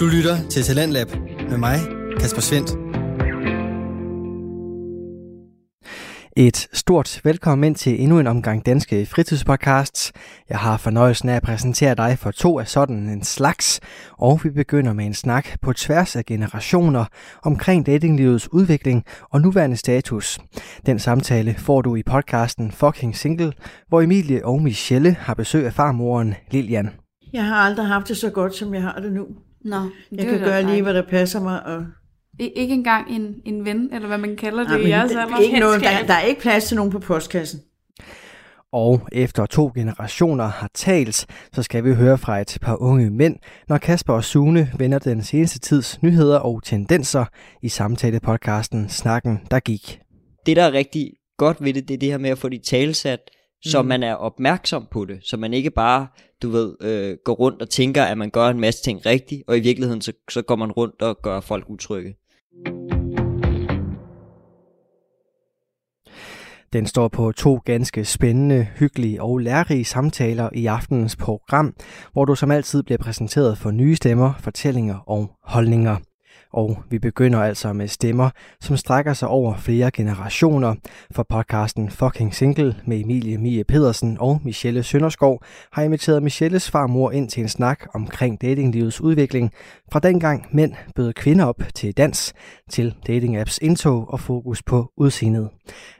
Du lytter til Talentlab med mig, Kasper Svendt. Et stort velkommen ind til endnu en omgang danske fritidspodcasts. Jeg har fornøjelsen af at præsentere dig for to af sådan en slags, og vi begynder med en snak på tværs af generationer omkring datinglivets udvikling og nuværende status. Den samtale får du i podcasten Fucking Single, hvor Emilie og Michelle har besøg af farmoren Lilian. Jeg har aldrig haft det så godt, som jeg har det nu. Nå, Jeg kan gøre lige, hvad der passer mig. Og... Ikke engang en, en ven, eller hvad man kalder det Nej, i men jeres der- alder. ikke noget, der, der er ikke plads til nogen på postkassen. Og efter to generationer har talt, så skal vi høre fra et par unge mænd, når Kasper og Sune vender den seneste tids nyheder og tendenser i samtalepodcasten Snakken, der gik. det, der er rigtig godt ved det, det er det her med at få det talsat, så Mm. mm. man er opmærksom på det, så man ikke bare, du ved, øh, går rundt og tænker, at man gør en masse ting rigtigt, og i virkeligheden, så, så går man rundt og gør folk utrygge. Den står på to ganske spændende, hyggelige og lærerige samtaler i aftenens program, hvor du som altid bliver præsenteret for nye stemmer, fortællinger og holdninger. Og vi begynder altså med stemmer, som strækker sig over flere generationer, for podcasten Fucking Single med Emilie Mie Pedersen og Michelle Sønderskov har inviteret Michelles farmor ind til en snak omkring datinglivets udvikling, fra dengang mænd bød kvinder op til dans, til datingapps indtog og fokus på udseendet.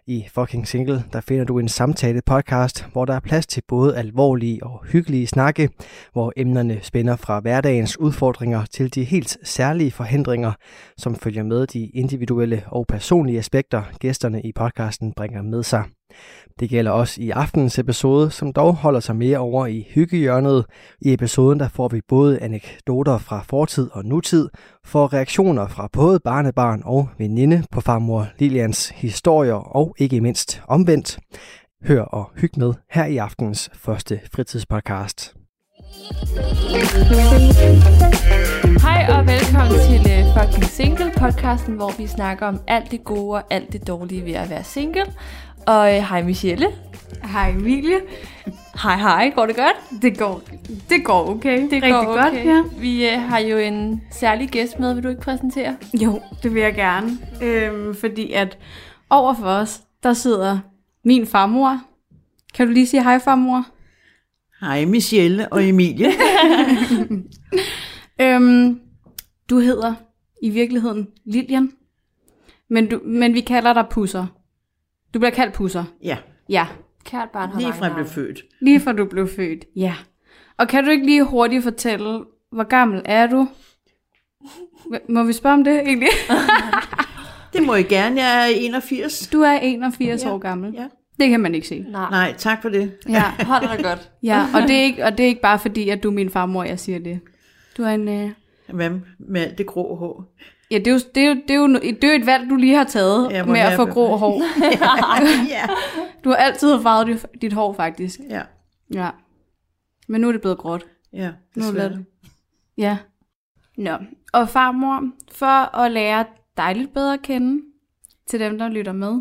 I Fucking Single, der finder du en samtale podcast, hvor der er plads til både alvorlige og hyggelige snakke, hvor emnerne spænder fra hverdagens udfordringer til de helt særlige forhindringer, som følger med de individuelle og personlige aspekter, gæsterne i podcasten bringer med sig. Det gælder også i aftenens episode, som dog holder sig mere over i hyggehjørnet. I episoden der får vi både anekdoter fra fortid og nutid, for reaktioner fra både barnebarn og veninde på farmor Lilians historier og ikke mindst omvendt. Hør og hyg med her i aftenens første fritidspodcast. Hej og velkommen til uh, Fucking Single podcasten, hvor vi snakker om alt det gode og alt det dårlige ved at være single. Og uh, hej Michelle. Hej Emilie. Hej hej, går det godt? Det går, det går okay. Det Rigtig går godt her. Vi uh, har jo en særlig gæst med, vil du ikke præsentere? Jo, det vil jeg gerne. Øhm, fordi at over for os, der sidder min farmor. Kan du lige sige hej farmor? Hej Michelle og Emilie. Øhm, du hedder i virkeligheden Lilian. Men, du, men vi kalder dig Pusser. Du bliver kaldt Pusser. Ja, Ja, Kært barn har lige fra jeg navne. blev født. Lige fra du blev født, ja. Og kan du ikke lige hurtigt fortælle, hvor gammel er du? Hva- Må vi spørge om det egentlig? Det må I gerne. Jeg er 81. Du er 81 ja. år gammel. Ja. Det kan man ikke se. Nej, Nej, tak for det. Ja, hold dig godt. ja. Og, det er ikke, og det er ikke bare fordi, at du er min farmor, jeg siger det. Du er en... Øh... Hvad med alt det grå hår? Ja, det er, jo, det, er jo, det, er jo, no- det er jo et valg, du lige har taget Ja, ja, hvor med at få jeg- grå hår. ja. Du har altid farvet dit, dit hår, faktisk. ja, Ja. Men nu er det blevet gråt. ja. Nu er det desværre. lavet. Ja. Nå, og farmor, for at lære dig lidt bedre at kende, til dem, der lytter med,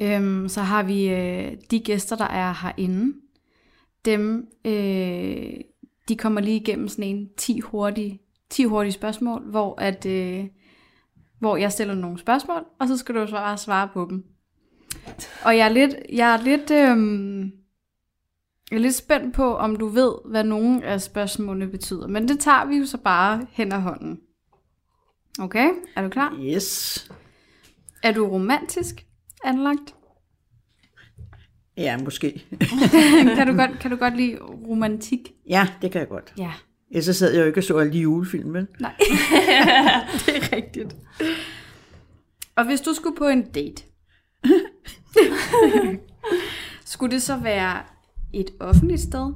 øhm, så har vi øh, de gæster, der er herinde. Dem, øh, de kommer lige igennem sådan en 10 hurtige, 10 hurtige spørgsmål, hvor, at, øh, hvor jeg stiller nogle spørgsmål, og så skal du så bare svare på dem. Og jeg er lidt, jeg er lidt, øhm, jeg er lidt spændt på, om du ved, hvad nogle af spørgsmålene betyder. Men det tager vi jo så bare hen ad hånden. Okay, er du klar? Yes. Er du romantisk anlagt? Ja, måske. kan, du godt, kan du godt lide romantik? Ja, det kan jeg godt. Ja. Ja, så sad jeg jo ikke og så alle de julefilm, vel? Nej. det er rigtigt. Og hvis du skulle på en date, skulle det så være et offentligt sted?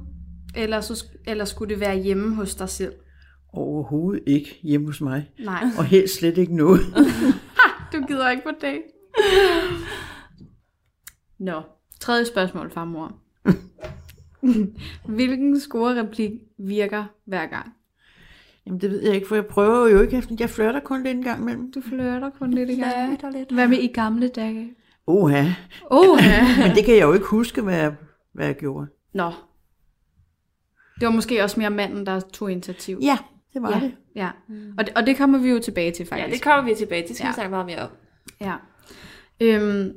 Eller, så, sk- eller skulle det være hjemme hos dig selv? Overhovedet ikke hjemme hos mig. Nej, Og helst slet ikke noget. du gider ikke på date. Nå, tredje spørgsmål, farmor. Hvilken score-replik virker hver gang? Jamen, det ved jeg ikke, for jeg prøver jo ikke. Jeg flirter kun lidt en gang imellem. Du flørter kun lidt i gang. Flørter lidt. Hvad med i gamle dage? Oha. Oh, Men det kan jeg jo ikke huske, hvad jeg, hvad jeg gjorde. Nå. Det var måske også mere manden, der tog initiativ. Ja, Det var ja. det. Ja, og det, og det kommer vi jo tilbage til faktisk. Ja, det kommer vi tilbage til. Det skal ja. Ja. vi snakke meget mere om. Ja. Øhm,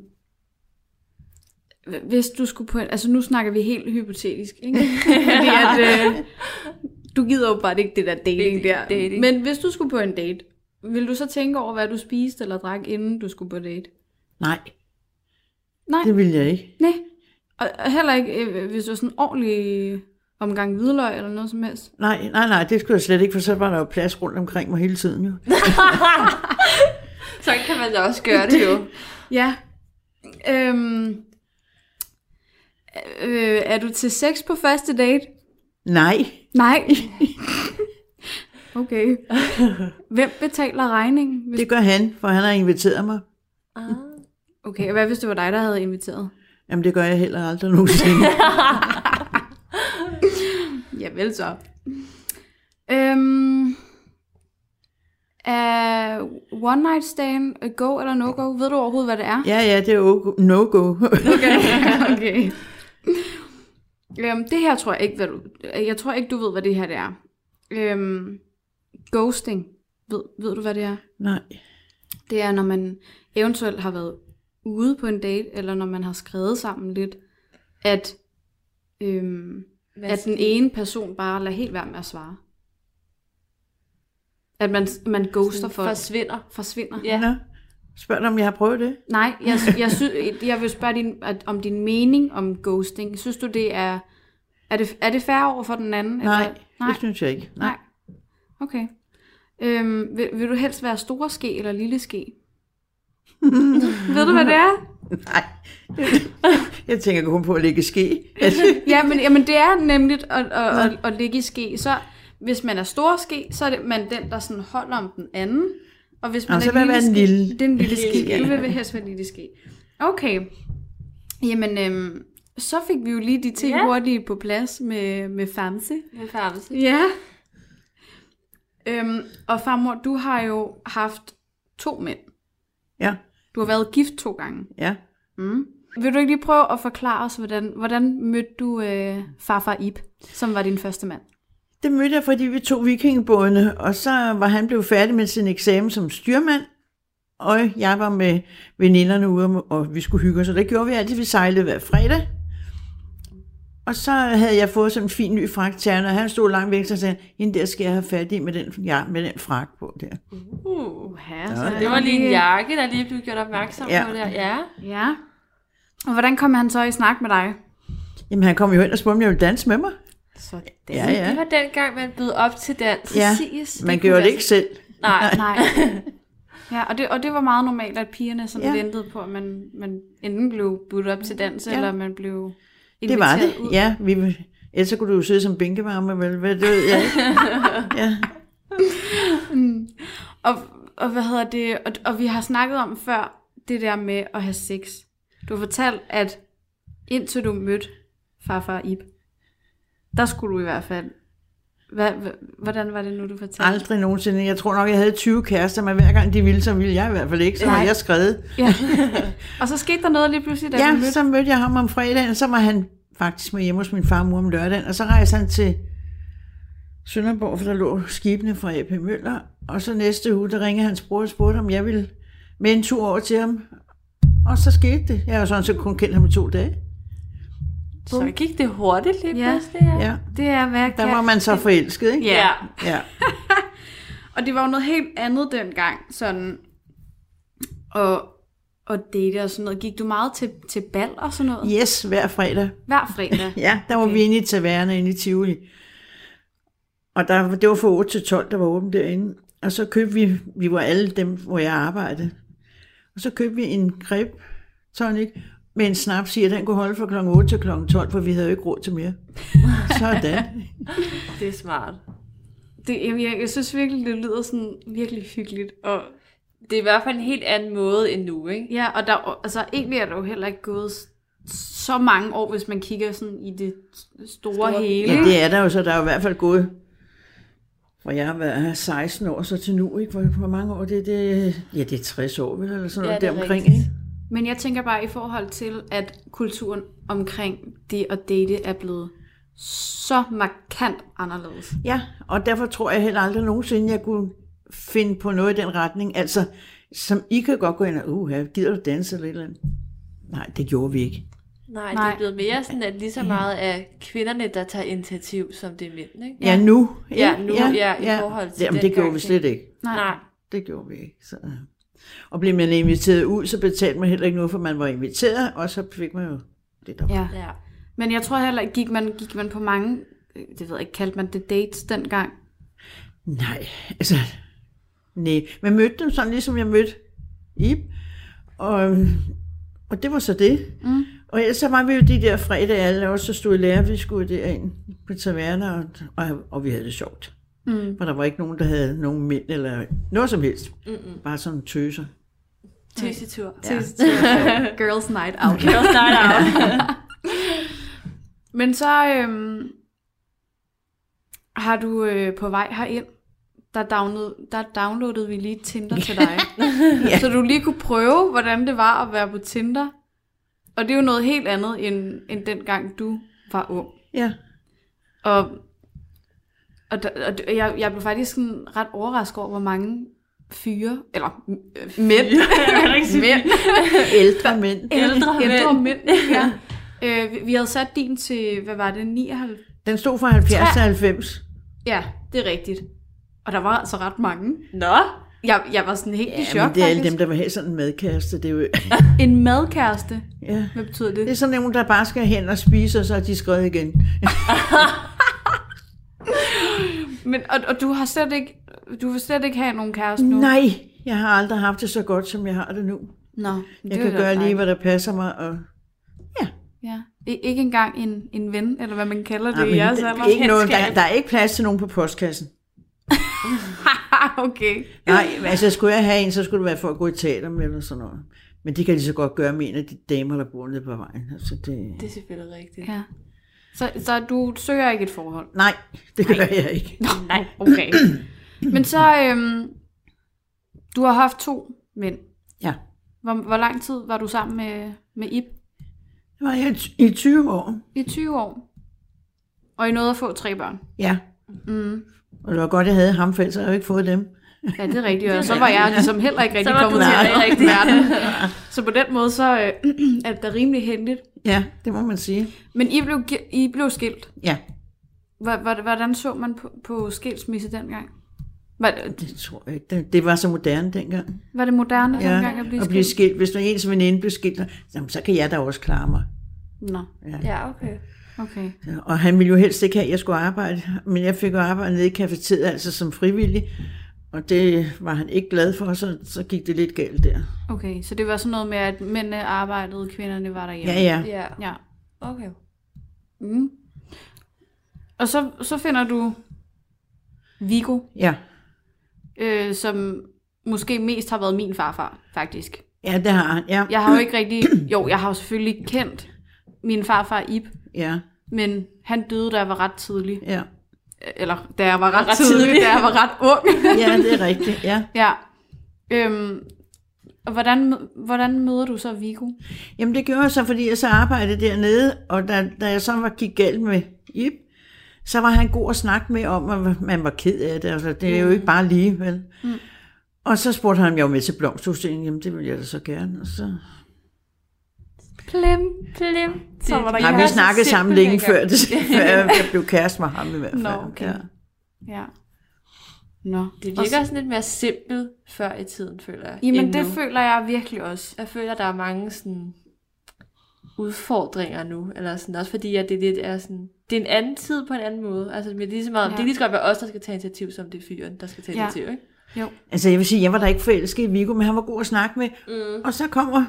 h- hvis du skulle på en, Altså nu snakker vi helt hypotetisk, ikke? Fordi at, øh, du gider jo bare ikke det der dating Dating, der. dating. Men hvis du skulle på en date, vil du så tænke over, hvad du spiste eller drak, inden du skulle på date? Nej, Nej, det ville jeg ikke. nej. Og og heller ikke, øh, hvis du var sådan en ordentlig omgang hvidløg eller noget som helst. Nej, nej, nej, det skulle jeg slet ikke, for så var der jo plads rundt omkring mig hele tiden jo. Sådan kan man da også gøre det jo. Ja. Øhm, øh, er du til sex på første date? Nej, Nej. Okay. Hvem betaler regningen? Hvis... det gør han, for han har inviteret mig. Ah. Okay, og hvad hvis det var dig, der havde inviteret? Jamen, det gør jeg heller aldrig nogensinde. Ja, vel så. Øhm, er one night stand a go eller no go? Ved du overhovedet, hvad det er? ja, ja, det er jo no-go. Okay. okay. Øhm, det her tror jeg ikke, hvad du, jeg tror ikke, du ved, hvad det her det er. Øhm, ghosting. Ved, ved du, hvad det er? nej, Det er, når man eventuelt har været ude på en date, eller når man har skrevet sammen lidt, at, øhm, at den ene person bare lader helt være med at svare. At man, man ghoster folk. forsvinder. forsvinder. Ja. nå. Spørg dig, om jeg har prøvet det? Nej, jeg, jeg, sy- jeg vil spørge din, at, om din mening om ghosting. Synes du, det er... Er det, er det fair over for den anden? Nej, eller? det nej, synes jeg ikke. Nej. nej. Okay. Øhm, vil, vil du helst være store ske eller lille ske? Ved du, hvad det er? Nej. Jeg tænker kun på at lægge ske. Altså, ja, men, jamen, det er nemlig at, at, at, at ligge i ske. Så hvis man er stor ske, så er det, man den, der sådan holder om den anden. Og hvis man Nå, så er vil jeg ske, være en lille. det er en lille ske. Ja. Ja. Jeg vil helst være en lille ske. Okay. Jamen, øhm, så fik vi jo lige de ting Ja. ja. hurtigt på plads med, med Famse. Med farmelse. Ja. Øhm, og farmor, du har jo haft to mænd. Ja, Du har været gift to gange. ja. Mm. Vil du ikke lige prøve at forklare os, hvordan, hvordan mødte du øh, farfar Ib, som var din første mand? Det mødte jeg, fordi vi tog vikingebådene, og så var han blevet færdig med sin eksamen som styrmand, og jeg var med veninderne ude, og vi skulle hygge os, og det gjorde vi altid, vi sejlede hver fredag. Og så havde jeg fået sådan en fin ny frak til ham, og han stod langt væk, så sagde han, hende der skal jeg have fat i med den, ja, med den frak på der. Uh, ja, så er Det var lige en jakke, der lige blev gjort opmærksom Ja. på der. Ja. Ja. Og hvordan kom han så i snak med dig? Jamen han kom jo hen og spurgte, om jeg ville danse med mig. Sådan. Ja, ja. Altså, Det var dengang, man bød op til dans. Ja, Præcis. Man kunne gjorde det være- ikke selv. Nej. Nej. Ja, og det, og det var meget normalt, at pigerne sådan Ja. ja. ventede på, at man, man enten blev budt op til dans, Ja. ja. eller man blev inviteret Det var det, ud. ja. Vi, ellers så kunne du jo sidde som bænkevarme, vel? Hvad, det ved jeg ikke. ja. Og, og hvad hedder det? Og, og vi har snakket om før, det der med at have sex. Du har fortalt, at indtil du mødte farfar Ib, der skulle du i hvert fald... Hvad, hva- hvordan var det nu, du fortalte? Aldrig nogensinde. Jeg tror nok, jeg havde 20 kærester, men hver gang de ville, så ville jeg i hvert fald ikke. Så Nej. var jeg skrevet. Ja. Og så skete der noget lige pludselig, da du Ja, mødte... så mødte jeg ham om fredagen, og så var han faktisk med hjemme hos min farmor om lørdagen, og så rejste han til Sønderborg, for der lå skibene fra AP Møller, og så næste uge, der ringede hans bror og spurgte, om jeg ville med en tur over til ham, og så skete det. Jeg har jo sådan set kun kendt ham i to dage. Så gik det hurtigt lige Ja. pludselig. Ja. Ja, Det er, hvad der var man så forelsket, ikke? Ja. ja. Og det var jo noget helt andet dengang, sådan... Og, og date og sådan noget. Gik du meget til, til bal og sådan noget? Yes, hver fredag. Hver fredag? Ja, der var okay. Okay. vi inde i taverne inde i Tivoli. Og der, det var fra 8 til 12, der var åbent derinde. Og så købte vi, vi var alle dem, hvor jeg arbejdede. Og så købte vi en greb tonic med en snaps i, og den kunne holde fra kl. 8 til kl. 12, for vi havde jo ikke råd til mere. Sådan. Det er smart. Det, jeg, jeg, jeg synes virkelig, det lyder sådan virkelig hyggeligt. Og, Det er i hvert fald en helt anden måde end nu, ikke? ja, og der, altså, egentlig er der jo heller ikke gået s- så mange år, hvis man kigger sådan i det store, store. hele. Ja, det er der jo, så der er jo i hvert fald gået hvor jeg har været her 16 år, så til nu, ikke? Hvor, hvor mange år det er det? Ja, det er 60 år, vel? Eller sådan noget det er deromkring, rigtigt. ikke? Men jeg tænker bare i forhold til, at kulturen omkring det at date er blevet så markant anderledes. Ja, og derfor tror jeg heller aldrig nogensinde, jeg kunne finde på noget i den retning. Altså, som I kan godt gå ind og, uh, gider du danse eller et eller andet? Nej, det gjorde vi ikke. Nej, det Nej. er blevet mere sådan, at lige så meget af kvinderne, der tager initiativ, som det er mænd, ikke? Ja, nu. Ja, nu, ja, i forhold til Jamen, det gjorde dengang, vi slet ikke. Nej. Nej. Det gjorde vi ikke. Så. Og blev man inviteret ud, så betalte man heller ikke noget, for man var inviteret, og så fik man jo det der. var. Ja. Ja. Men jeg tror heller ikke, gik man, gik man på mange, øh, det ved jeg ikke, kaldte man det dates dengang? Nej, altså, nej. Man mødte dem sådan, ligesom jeg mødte Ib, og, og det var så det. Mm. Og ellers så var vi jo de der fredage, alle os, der stod i lære, vi skulle derind på taverner, og, og, og vi havde det sjovt. Mm. For der var ikke nogen, der havde nogen mænd, eller noget som helst. Mm-mm. Bare sådan tøser. Tøsetur. Ja. Girls night out. Girls night out. Men så øhm, har du øh, på vej herind, der, download, der downloadede vi lige Tinder til dig. ja. Så du lige kunne prøve, hvordan det var at være på Tinder. Og det er jo noget helt andet, end, end dengang du var ung. Ja, Og, og, der, og det- jeg, jeg blev faktisk sådan ret overrasket over, hvor mange fyre, eller øh, mænd, mænd, ældre mænd. ældre, mænd. ældre mænd. Ja. Øh, vi- vi havde sat din til, hvad var det, 99? Den stod fra 70 til 90. Ja, det er rigtigt. Og der var altså ret mange. Nå, Jeg, jeg var sådan helt i Jamen, chok, det er alle faktisk. dem, der vil have sådan en madkæreste. Det er jo, En madkæreste. ja. Hvad betyder Det er det? sådan nogen, der bare skal hen og spise, og så er de skrevet igen. Men, og, og du har slet ikke, du vil slet ikke have nogen kæreste nu? Nej, jeg har aldrig haft det så godt, som jeg har det nu. Nå, Jeg kan gøre lige, hvad der passer mig. Og... Ja. I, ikke engang en, en ven, eller hvad man kalder det Ej, i jeres det- alder. ikke noget, der, der er ikke plads til nogen på postkassen. Ah, okay. Nej, altså skulle jeg have en, så skulle det være for at gå i teater med eller sådan noget. Men det kan de så godt gøre med en af de damer, der bor nede på vejen. Altså, det... det er selvfølgelig rigtigt. Ja. Så, så du søger ikke et forhold? Nej, det gør jeg ikke. Nej, okay. Men så, øhm, du har haft to mænd. Ja. Hvor, hvor lang tid var du sammen med, med Ib? Det var jeg i ty- i 20 år. I 20 år. Og I nåede at få tre børn. Ja. Mm. Og det var godt, jeg havde ham, for ellers havde jeg jo ikke fået dem. Ja, det er rigtigt. Og så var jeg ligesom heller ikke rigtig var kommet du til heller at ikke rigtig verden. Så på den måde, så øh, er det da rimelig hentet. Ja, det må man sige. Men I blev, gi- I blev skilt. Ja, Hvor- hvor- Hvordan så man på, på skilsmisse dengang? Var, det tror jeg ikke. Det, det var så moderne dengang. var det moderne Ja, dengang at blive at blive skilt? skilt. Hvis nu ens veninde blev skilt, så- jamen, så kan jeg da også klare mig. Nå, Ja, okay. okay. Og han ville jo helst ikke have, at jeg skulle arbejde. Men jeg fik jo arbejde nede i kafeteriet, altså som frivillig. Og det var han ikke glad for, så, så gik det lidt galt der. Okay, så det var sådan noget med, at mændene arbejdede, kvinderne var derhjemme. Ja, ja. Ja, ja. okay. Mm. Og så, så finder du Vigo, Ja, øh, som måske mest har været min farfar, faktisk. ja det har han. Ja, ja. Jeg har jo ikke rigtig... Jo, jeg har jo selvfølgelig kendt min farfar Ib, ja. men han døde, da jeg var ret tidlig. ja. Eller da jeg var ret, Ret ret tidlig, tidlig. tidlig, da jeg var ret ung. Ja, det er rigtigt. Ja. ja. Øhm, og hvordan, hvordan møder du så Vigo? Jamen det gjorde jeg så, fordi jeg så arbejdede dernede, og da, da jeg så var gik galt med Ip, så var han god at snakke med om, at man var ked af det. Altså, det er jo ikke bare lige, vel? Mm. Og så spurgte han, om jeg var med til blomsterudstillingen. Jamen, det ville jeg da så gerne. Og så... Plem, plem. Så var der Nej, vi snakkede sammen længe før, det, før jeg blev kæreste med ham i hvert fald. Nå, okay. ja. Ja. Nå. Det virker også lidt mere simpelt før i tiden, føler jeg. Jamen, end det nu. føler jeg virkelig også. Jeg føler, der er mange sådan udfordringer nu, eller sådan, også fordi, at det lidt er sådan, det er en anden tid på en anden måde. Altså, det er lige så meget, Ja. ja. det er lige så godt være os, der skal tage initiativ, som det er fyren, der skal tage Ja. ja. initiativ, ikke? Altså, jeg vil sige, jeg var da ikke forelsket i Viggo, men han var god at snakke med. Mm. Og så kommer,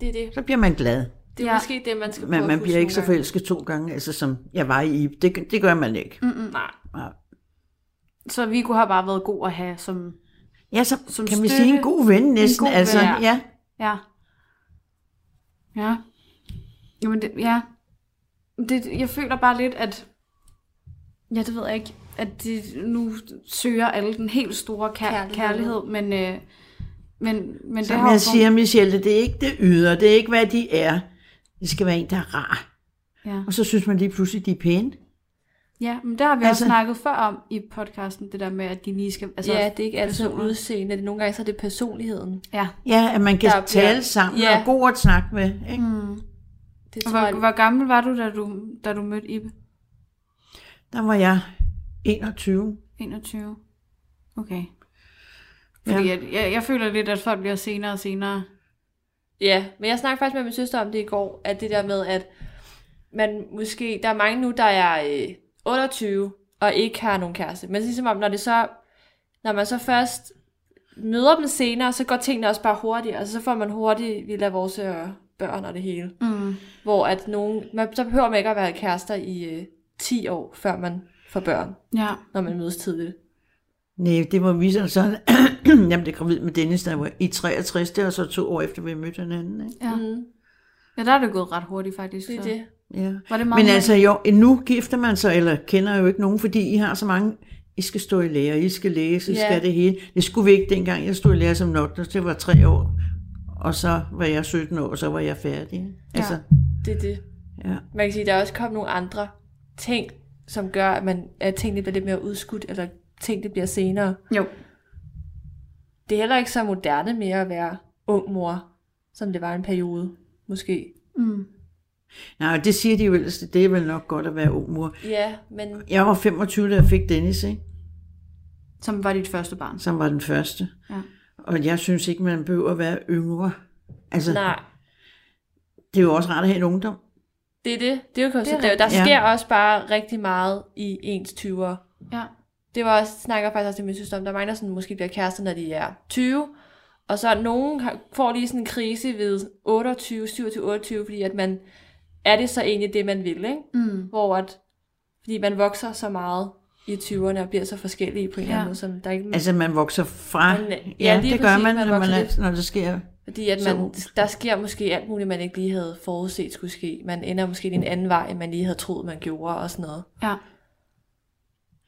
Det er det. så bliver man glad. Det Ja. er ja. måske det, man skal prøve Man, at man huske bliver ikke så nogle gange. forelsket to gange, altså som jeg var i Ip. Det, det gør man ikke. Mm. Nej. Så Vigo har bare været god at have som... Ja, så Som kan vi støtte. sige en god ven næsten. god altså, ven, ja. Ja. Ja. Jamen, det, ja. Det, jeg føler bare lidt, at... Ja, det ved jeg ikke. At de, nu søger alle den helt store kær- Kærlighed. kærlighed, men... Øh, men, men det Som har jo jeg fun- siger, Michelle, det er ikke det ydre, det er ikke, hvad de er. Det skal være en, der er rar. Ja. Og så synes man lige pludselig, de er pæne. ja, men der har vi altså, Altså- også snakket før om i podcasten, det der med, at de lige skal... Altså, ja, det er ikke altid personer. udseende. Det- Nogle gange så er det personligheden. ja. Ja, at man kan Der bliver- tale sammen Ja. og er god at snakke med. Ikke? Mm. Det Og tror jeg, Hvor, hvor gammel var du, da du, da du mødte Ibe? Der var jeg 21. 21. Okay. Ja. Fordi jeg, jeg, jeg føler lidt, at folk bliver senere og senere. Ja, men jeg snakkede faktisk med min søster om det i går, at det der med, at man måske, der er mange nu, der er øh, 28 og ikke har nogen kæreste. Men ligesom om, når det så, når man så først møder dem senere, så går tingene også bare hurtigere, og så får man hurtigt vildt af vores øh, børn og det hele. Mm. Hvor at nogen, man, så behøver man ikke at være kærester i øh, 10 år, før man får børn, Ja. når man mødes tidligt. Nej, det var vi så sådan. Jamen, det kom ud med Dennis, der var i 63, det var så to år efter, vi mødte hinanden. Ikke? Ja. Mm, ja, der er det gået ret hurtigt faktisk. det er så. det. Ja. Var det meget Men altså, jo, nu gifter man sig, eller kender jo ikke nogen, fordi I har så mange... I skal stå i lære, I skal læse, I Ja. skal det hele. Det skulle vi ikke dengang. Jeg stod i lære som notners, det var tre år. Og så var jeg 17 år, og så var jeg færdig. Altså, Det er det. ja. Man kan sige, der er også kommet nogle andre ting, som gør, at, man, at tingene bliver lidt mere udskudt, eller tingene bliver senere. Jo. Det er heller ikke så moderne mere at være ung mor, som det var en periode, måske. Mm. Nej, og det siger de jo ellers, det er vel nok godt at være ung mor. Ja, men Jeg var 25, da jeg fik Dennis, ikke? Som var dit første barn. som var den første. Ja. Og jeg synes ikke, man behøver at være yngre. Altså, nej, det er jo også rart at have en ungdom. det er det. Det er jo kun Det er så Der rigtigt. sker også bare rigtig meget i ens 20'er. Ja. Det var også, snakker jeg faktisk også til min søster om, der er mange, der sådan, måske bliver kærester, når de er 20. Og så er nogen har- får lige sådan en krise ved 28, 27, 28, fordi at man, er det så egentlig det, man vil, ikke? Mm. hvor at, fordi man vokser så meget i 20'erne og bliver så forskellige på en eller Ja. anden måde, som der ikke, altså, Altså, man vokser fra. Men, ja, ja lige det gør præcis, man, man når, man vokser er, lidt. når det sker. fordi at så- man, der sker måske alt muligt, man ikke lige havde forudset skulle ske. Man ender måske i en anden vej, end man lige havde troet, man gjorde og sådan noget. Ja.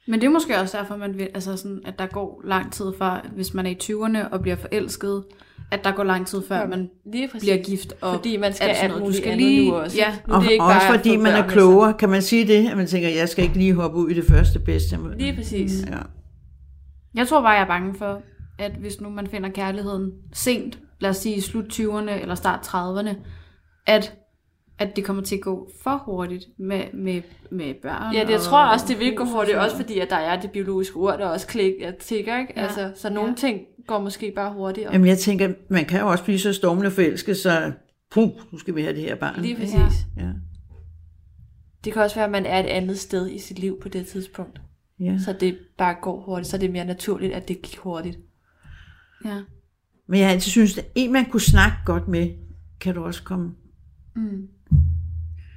Men det er måske også derfor, man vil, altså sådan, at der går lang tid før, hvis man er i 20'erne og bliver forelsket, at der går lang tid før, Ja. man Lige præcis. bliver gift. Og fordi man skal alt sådan alt noget. Du muligt skal andet lige- nu også. ja. ikke? Nu Og, er det ikke og også bare at fordi få man børn er altså. med klogere. Kan man sige det? At man tænker, jeg skal ikke lige hoppe ud i det første bedste. sig. Lige præcis. Mm. Ja. Jeg tror bare, jeg er bange for, at hvis nu man finder kærligheden sent, lad os sige i slut 20'erne eller start 30'erne, at, at det kommer til at gå for hurtigt med, med, med børn. Ja, det jeg og- tror også, det vil hus gå og hurtigt, sådan også fordi, at der er det biologiske ur, der også klik, ja, tigger, ikke? Ja. Altså, så nogle Ja. ting går måske bare hurtigere. Jamen, jeg tænker, man kan jo også blive så stormende forelsket, så puh, nu skal vi have det her barn. Lige. Lige præcis. Ja. Det kan også være, at man er et andet sted i sit liv på det tidspunkt. Ja. Så det bare går hurtigt, så det er mere naturligt, at det gik hurtigt. noget. Ja. Men jeg har altid synes, at en, man kunne snakke godt med, kan du også komme Mm.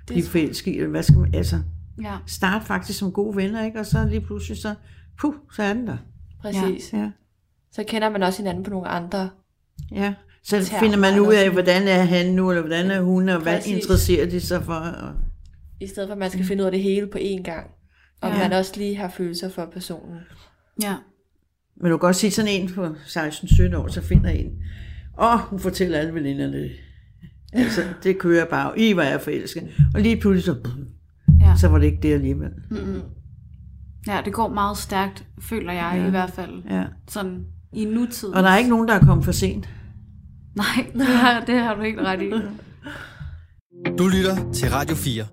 blive forelsket i, eller hvad skal man, altså, ja. start faktisk som gode venner, ikke? Og så lige pludselig så, puh, så er den der. Præcis. Ja. Ja. Så kender man også hinanden på nogle andre. ja. Så Termer, finder man ud af, eller hvordan er han nu, eller hvordan er hun, og hvad Præcis. interesserer de sig for. Og, I stedet for, at man skal finde ud af det hele på én gang. Og Ja. ja. man også lige har følelser for personen. ja. men du kan også sige sådan en på 16-17 år, så finder en. Og hun fortæller alle veninderne det. Altså, det kører bare. I var jeg forelsket. Og lige pludselig så, Ja. så var det ikke det alligevel. Mm. Ja, det går meget stærkt, føler jeg ja. i hvert fald. Ja. Sådan i nutiden. Og der er ikke nogen, der er kommet for sent. Nej, det har, det har du helt ret i. Du lytter til Radio 4.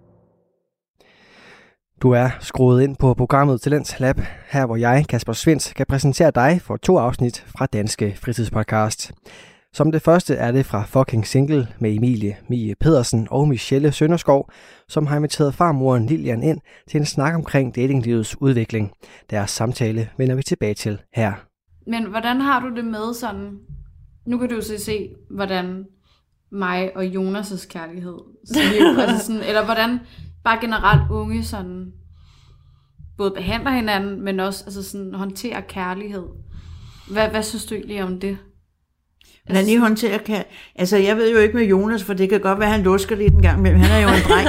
Du er skruet ind på programmet Talents Lab, her hvor jeg, Kasper Svens, kan præsentere dig for to afsnit fra Danske Fritidspodcast. Som det første er det fra Fucking Single med Emilie Mie Pedersen og Michelle Sønderskov, som har inviteret farmoren Lilian ind til en snak omkring datinglivets udvikling. Deres samtale vender vi tilbage til her. Men hvordan har du det med sådan... Nu kan du jo så se, hvordan mig og Jonas' kærlighed liv, altså sådan, eller hvordan bare generelt unge sådan både behandler hinanden, men også altså sådan, håndterer kærlighed. Hvad, hvad synes du egentlig om det? Men han lige håndterer kan... Altså, jeg ved jo ikke med Jonas, for det kan godt være, at han lusker lidt en gang imellem. Han er jo en dreng,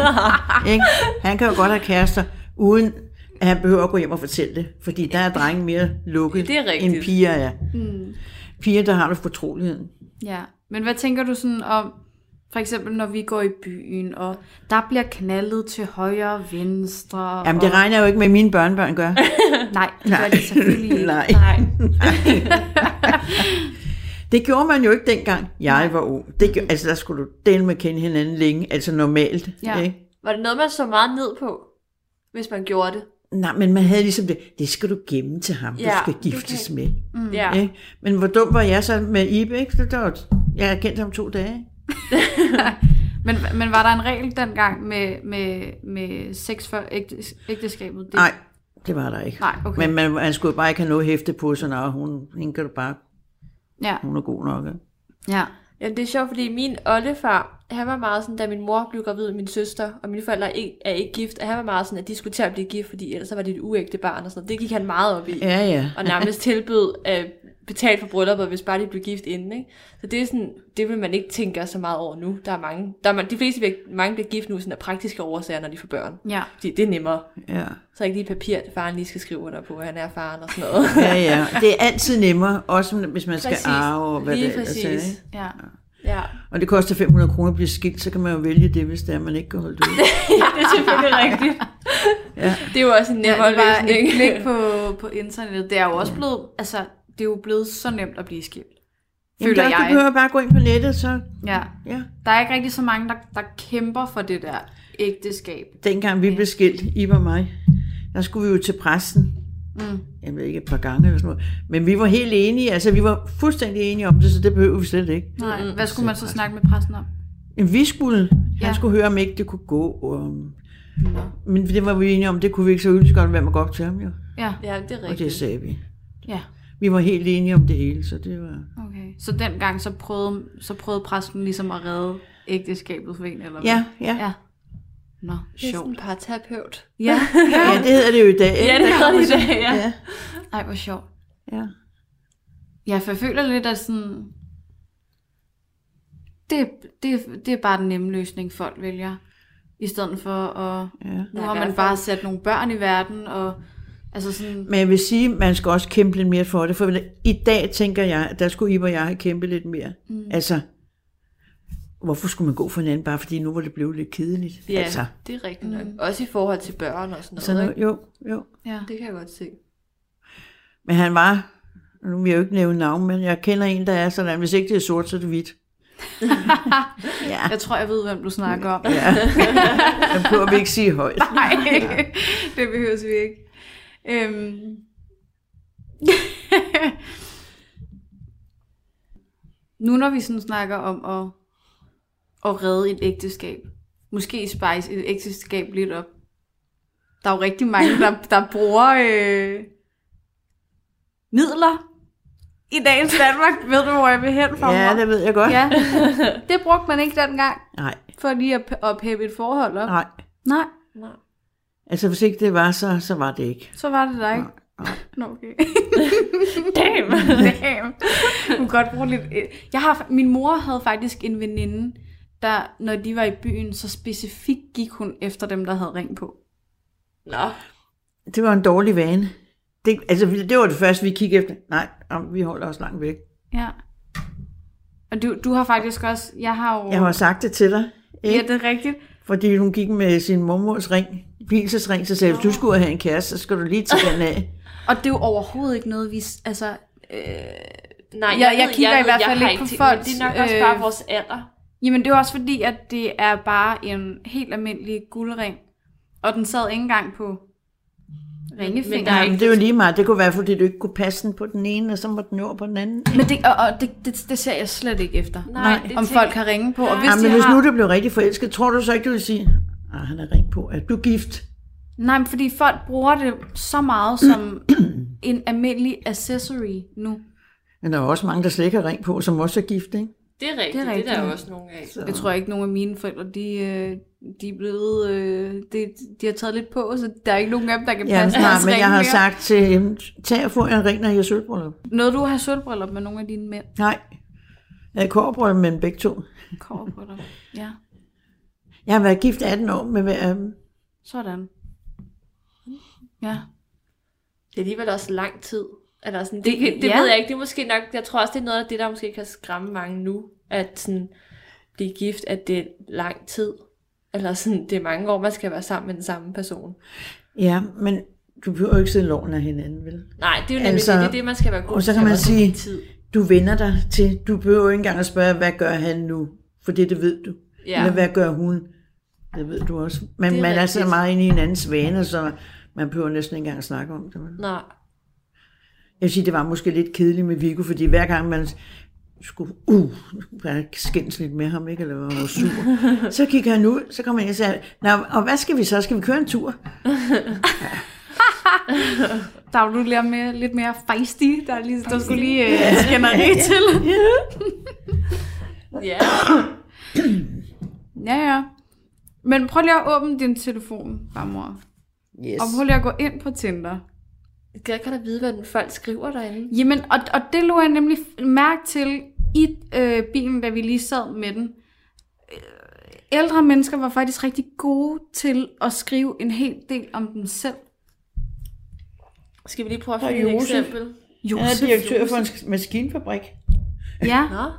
ikke? Han kan jo godt have kærester, uden at han behøver at gå hjem og fortælle det. Fordi der er drenge mere lukket, Det er rigtigt. end piger er. Mm. Piger, der har du fortroligheden. Ja, men hvad tænker du sådan om For eksempel, når vi går i byen, og der bliver knaldet til højre og venstre. Jamen, det og... regner jeg jo ikke med, at mine børnebørn gør. Nej, det gør de selvfølgelig ikke. Nej. Nej. Det gjorde man jo ikke dengang, jeg var ung. Det gjorde, altså, der skulle du dele med kende hinanden længe, altså normalt. Ja. Ikke? Var det noget, man så meget ned på, hvis man gjorde det? Nej, men man havde ligesom det, det skal du gemme til ham, ja, Ja, du skal du giftes kan- med. Mm. Ja. Ikke? Men hvor dum var jeg så med Ibe, ikke? Det var, jeg har kendt ham to dage. ikke? Men, men var der en regel dengang med, med, med sex før ægtes, ægteskabet? Det, Nej, det var der ikke. Nej, okay. Men man, man skulle bare ikke have noget hæfte på, så nej, hun, hende kan du bare, Ja, hun er god nok. ikke? ja. Jamen, det er sjovt, fordi min oldefar, han var meget sådan, da min mor blev gravid med min søster, og mine forældre er ikke, er ikke gift, og han var meget sådan, at de skulle til at blive gift, fordi ellers så var det et uægte barn og sådan noget. Det gik han meget op i. Ja, ja. og nærmest tilbød øh, betalt for brylluppet, hvis bare de blev gift inden. Ikke? Så det er sådan, det vil man ikke tænke så meget over nu. Der er mange, der er, man- de fleste bliver, mange bliver gift nu sådan af praktiske årsager, når de får børn. ja. Fordi det er nemmere. ja. Så er ikke lige papir, at faren lige skal skrive under på, at han er faren og sådan noget. Ja, ja. Det er altid nemmere, også hvis man skal arve og hvad lige det ellers præcis. er. altså, Ikke? Ja. Ja, Og det koster 500 kroner at blive skilt, så kan man jo vælge det, hvis det er, man ikke kan holde det ud. det er selvfølgelig rigtigt. Ja. Det er jo også en ja nemmere det var løsning. et klik på, på internettet. Det er jo også blevet, altså, det er jo blevet så nemt at blive skilt. Jamen, Føler der, Du jeg. behøver bare gå ind på nettet, så Ja. ja. Der er ikke rigtig så mange, der, der kæmper for det der ægteskab. Dengang vi blev skilt, I og mig, der skulle vi jo til præsten. Mm. Jeg ved ikke, et par gange eller sådan noget. Men vi var helt enige, altså vi var fuldstændig enige om det, så det behøver vi slet ikke. Nej. Hvad skulle man så snakke med præsten om? Men vi skulle, ja. Ja. han skulle høre, om ikke det kunne gå. Og... Mm. Men det var vi enige om, det kunne vi ikke så ønske godt, hvem man gå op til ham jo. Ja. Ja, det er Og det rigtigt. sagde vi. Ja. Vi var helt enige om det hele, så det var... Okay. Så dengang så prøvede, så prøvede præsten ligesom at redde ægteskabet for en, eller hvad? Ja, ja. Ja. Nå, Det er sådan sjovt. en parterapeut. Ja. Ja, det hedder det jo i dag. ikke? Ja, det hedder det i dag, ja. ja. Ej, hvor sjovt. ja. Ja, for jeg føler lidt, at sådan... Det, det, det er bare den nemme løsning, folk vælger. I stedet for at... Ja. Nu Ja, har man i hvert fald. bare sat nogle børn i verden, og... Altså sådan... Men jeg vil sige, man skal også kæmpe lidt mere for det, for i dag tænker jeg, at der skulle Ibe og jeg have kæmpet lidt mere. Mm. Altså, hvorfor skulle man gå for hinanden, bare fordi nu var det blevet lidt kedeligt? Ja, Altså, det er rigtigt nok. Også i forhold til børn og sådan noget. sådan, ikke? jo, jo. Ja. Det kan jeg godt se. Men han var, nu vil jeg jo ikke nævne navn, men jeg kender en, der er sådan, hvis ikke det er sort, så er det hvidt. ja, Jeg tror, jeg ved, hvem du snakker om. ja. Jeg prøver vi ikke sige højt. Nej, det behøves vi ikke. Øhm. nu når vi sådan snakker om at, at redde et ægteskab, måske spice et ægteskab lidt op. Der er jo rigtig mange, der, der bruger øh, midler i dagens Danmark. Ved du, hvor jeg vil hen fra? Ja, det ved jeg godt. ja. det brugte man ikke dengang, Nej, for lige at, at peppe et forhold op. nej. Nej. Nej. Altså, hvis ikke det var, så, så var det ikke. Så var det dig, ikke? Nå, okay. Damn. Damn. Du kan godt bruge lidt... øh, Jeg har, min mor havde faktisk en veninde, der, når de var i byen, så specifikt gik hun efter dem, der havde ring på. Nå. Det var en dårlig vane. Det, altså, vi- det var det første, vi kiggede efter. Nej, om, vi holder os langt væk. Ja. Og du, du har faktisk også... Jeg har jo... Jeg har sagt det til dig, ikke? Ja, Ja. det er rigtigt. fordi hun gik med sin mormors ring, vielsesring, så sagde, hvis du skulle have en kæreste, så skal du lige tage den af. Og det er jo overhovedet ikke noget, vi... s- Altså, Nej, Jeg- ved- jeg kigger i ved- hvert fald har ikke på tænkt- men folks, Det er nok også øh, bare vores alder. Jamen det er også fordi, at det er bare en helt almindelig guldring. Og den sad ikke engang på ringefingeren. Men der er Jamen, det er jo lige meget. Det kunne være, fordi du ikke kunne passe den på den ene, og så må den over på den anden. Men det, og, og det, det, det ser jeg slet ikke efter. Nej, det om tænker- folk har ringe på. Og hvis Hvis de men hvis har... nu du blev rigtig forelsket, tror du så ikke, du ville sige, at han er ring på, at du er gift? Nej, men fordi folk bruger det så meget som en almindelig accessory nu. Men der er jo også mange, der slet ikke har ring på, som også er gift, ikke? Det er rigtigt, det er, rigtigt. rigtigt. Det er der jo også nogle af. Så, Jeg tror ikke, nogen af mine forældre, de, øh, de er blevet... øh, De, de har taget lidt på, så der er ikke nogen af dem, der kan ja, passe nej, deres men ringe jeg har mere. sagt til hende, tag og få en ring, når jeg er sølvbryllup. Nåede du at have sølvbriller med nogle af dine mænd? Nej, jeg er kårebryllup med dem begge to. Kommer på dig. Ja, Jeg har været gift 18 år med øh, hver af dem. sådan. Ja, Det er alligevel også lang tid. Eller sådan, det, Det- det, det ja. ja. ved jeg ikke. Det er måske nok, jeg tror også, det er noget af det, der måske kan skræmme mange nu. At sådan, blive gift, at det er lang tid. Eller sådan, det er mange år, man skal være sammen med den samme person. Ja, men du behøver jo ikke sidde loven af hinanden, vel? Nej, det er jo nemlig Altså, altså, det, det, er det, man skal være god og så til, kan man også sige- tid. Du vender dig til, du behøver jo ikke engang at spørge, hvad gør han nu? For det, det ved du. Ja. Eller hvad gør hun? Det ved du også. Men Det er man er så rigtigt. meget inde i hinandens vaner, så man behøver næsten ikke engang at snakke om det. vel? Nej, Jeg vil sige, det var måske lidt kedeligt med Viggo, fordi hver gang man skulle, uh, jeg skændes lidt med ham, ikke? Eller var han sur. så gik han ud, så kom han ind og sagde, Nå, og hvad skal vi så? Skal vi køre en tur? Der er jo nu lidt mere, lidt mere feisty, der, er lige, der skulle lige øh, skænderi til. ja, Ja, ja. Men prøv lige at åbne din telefon, bare mor. Yes. Og prøv lige at gå ind på Tinder. jeg kan da vide, hvad den folk skriver derinde. Jamen, og, og det lå jeg nemlig f- mærke til i øh, bilen, da vi lige sad med den. Øh, Ældre mennesker var faktisk rigtig gode til at skrive en hel del om dem selv. Skal vi lige prøve at Der er finde et Josef. eksempel? Han er Josef. direktør for en sk- maskinfabrik. Ja, Nå,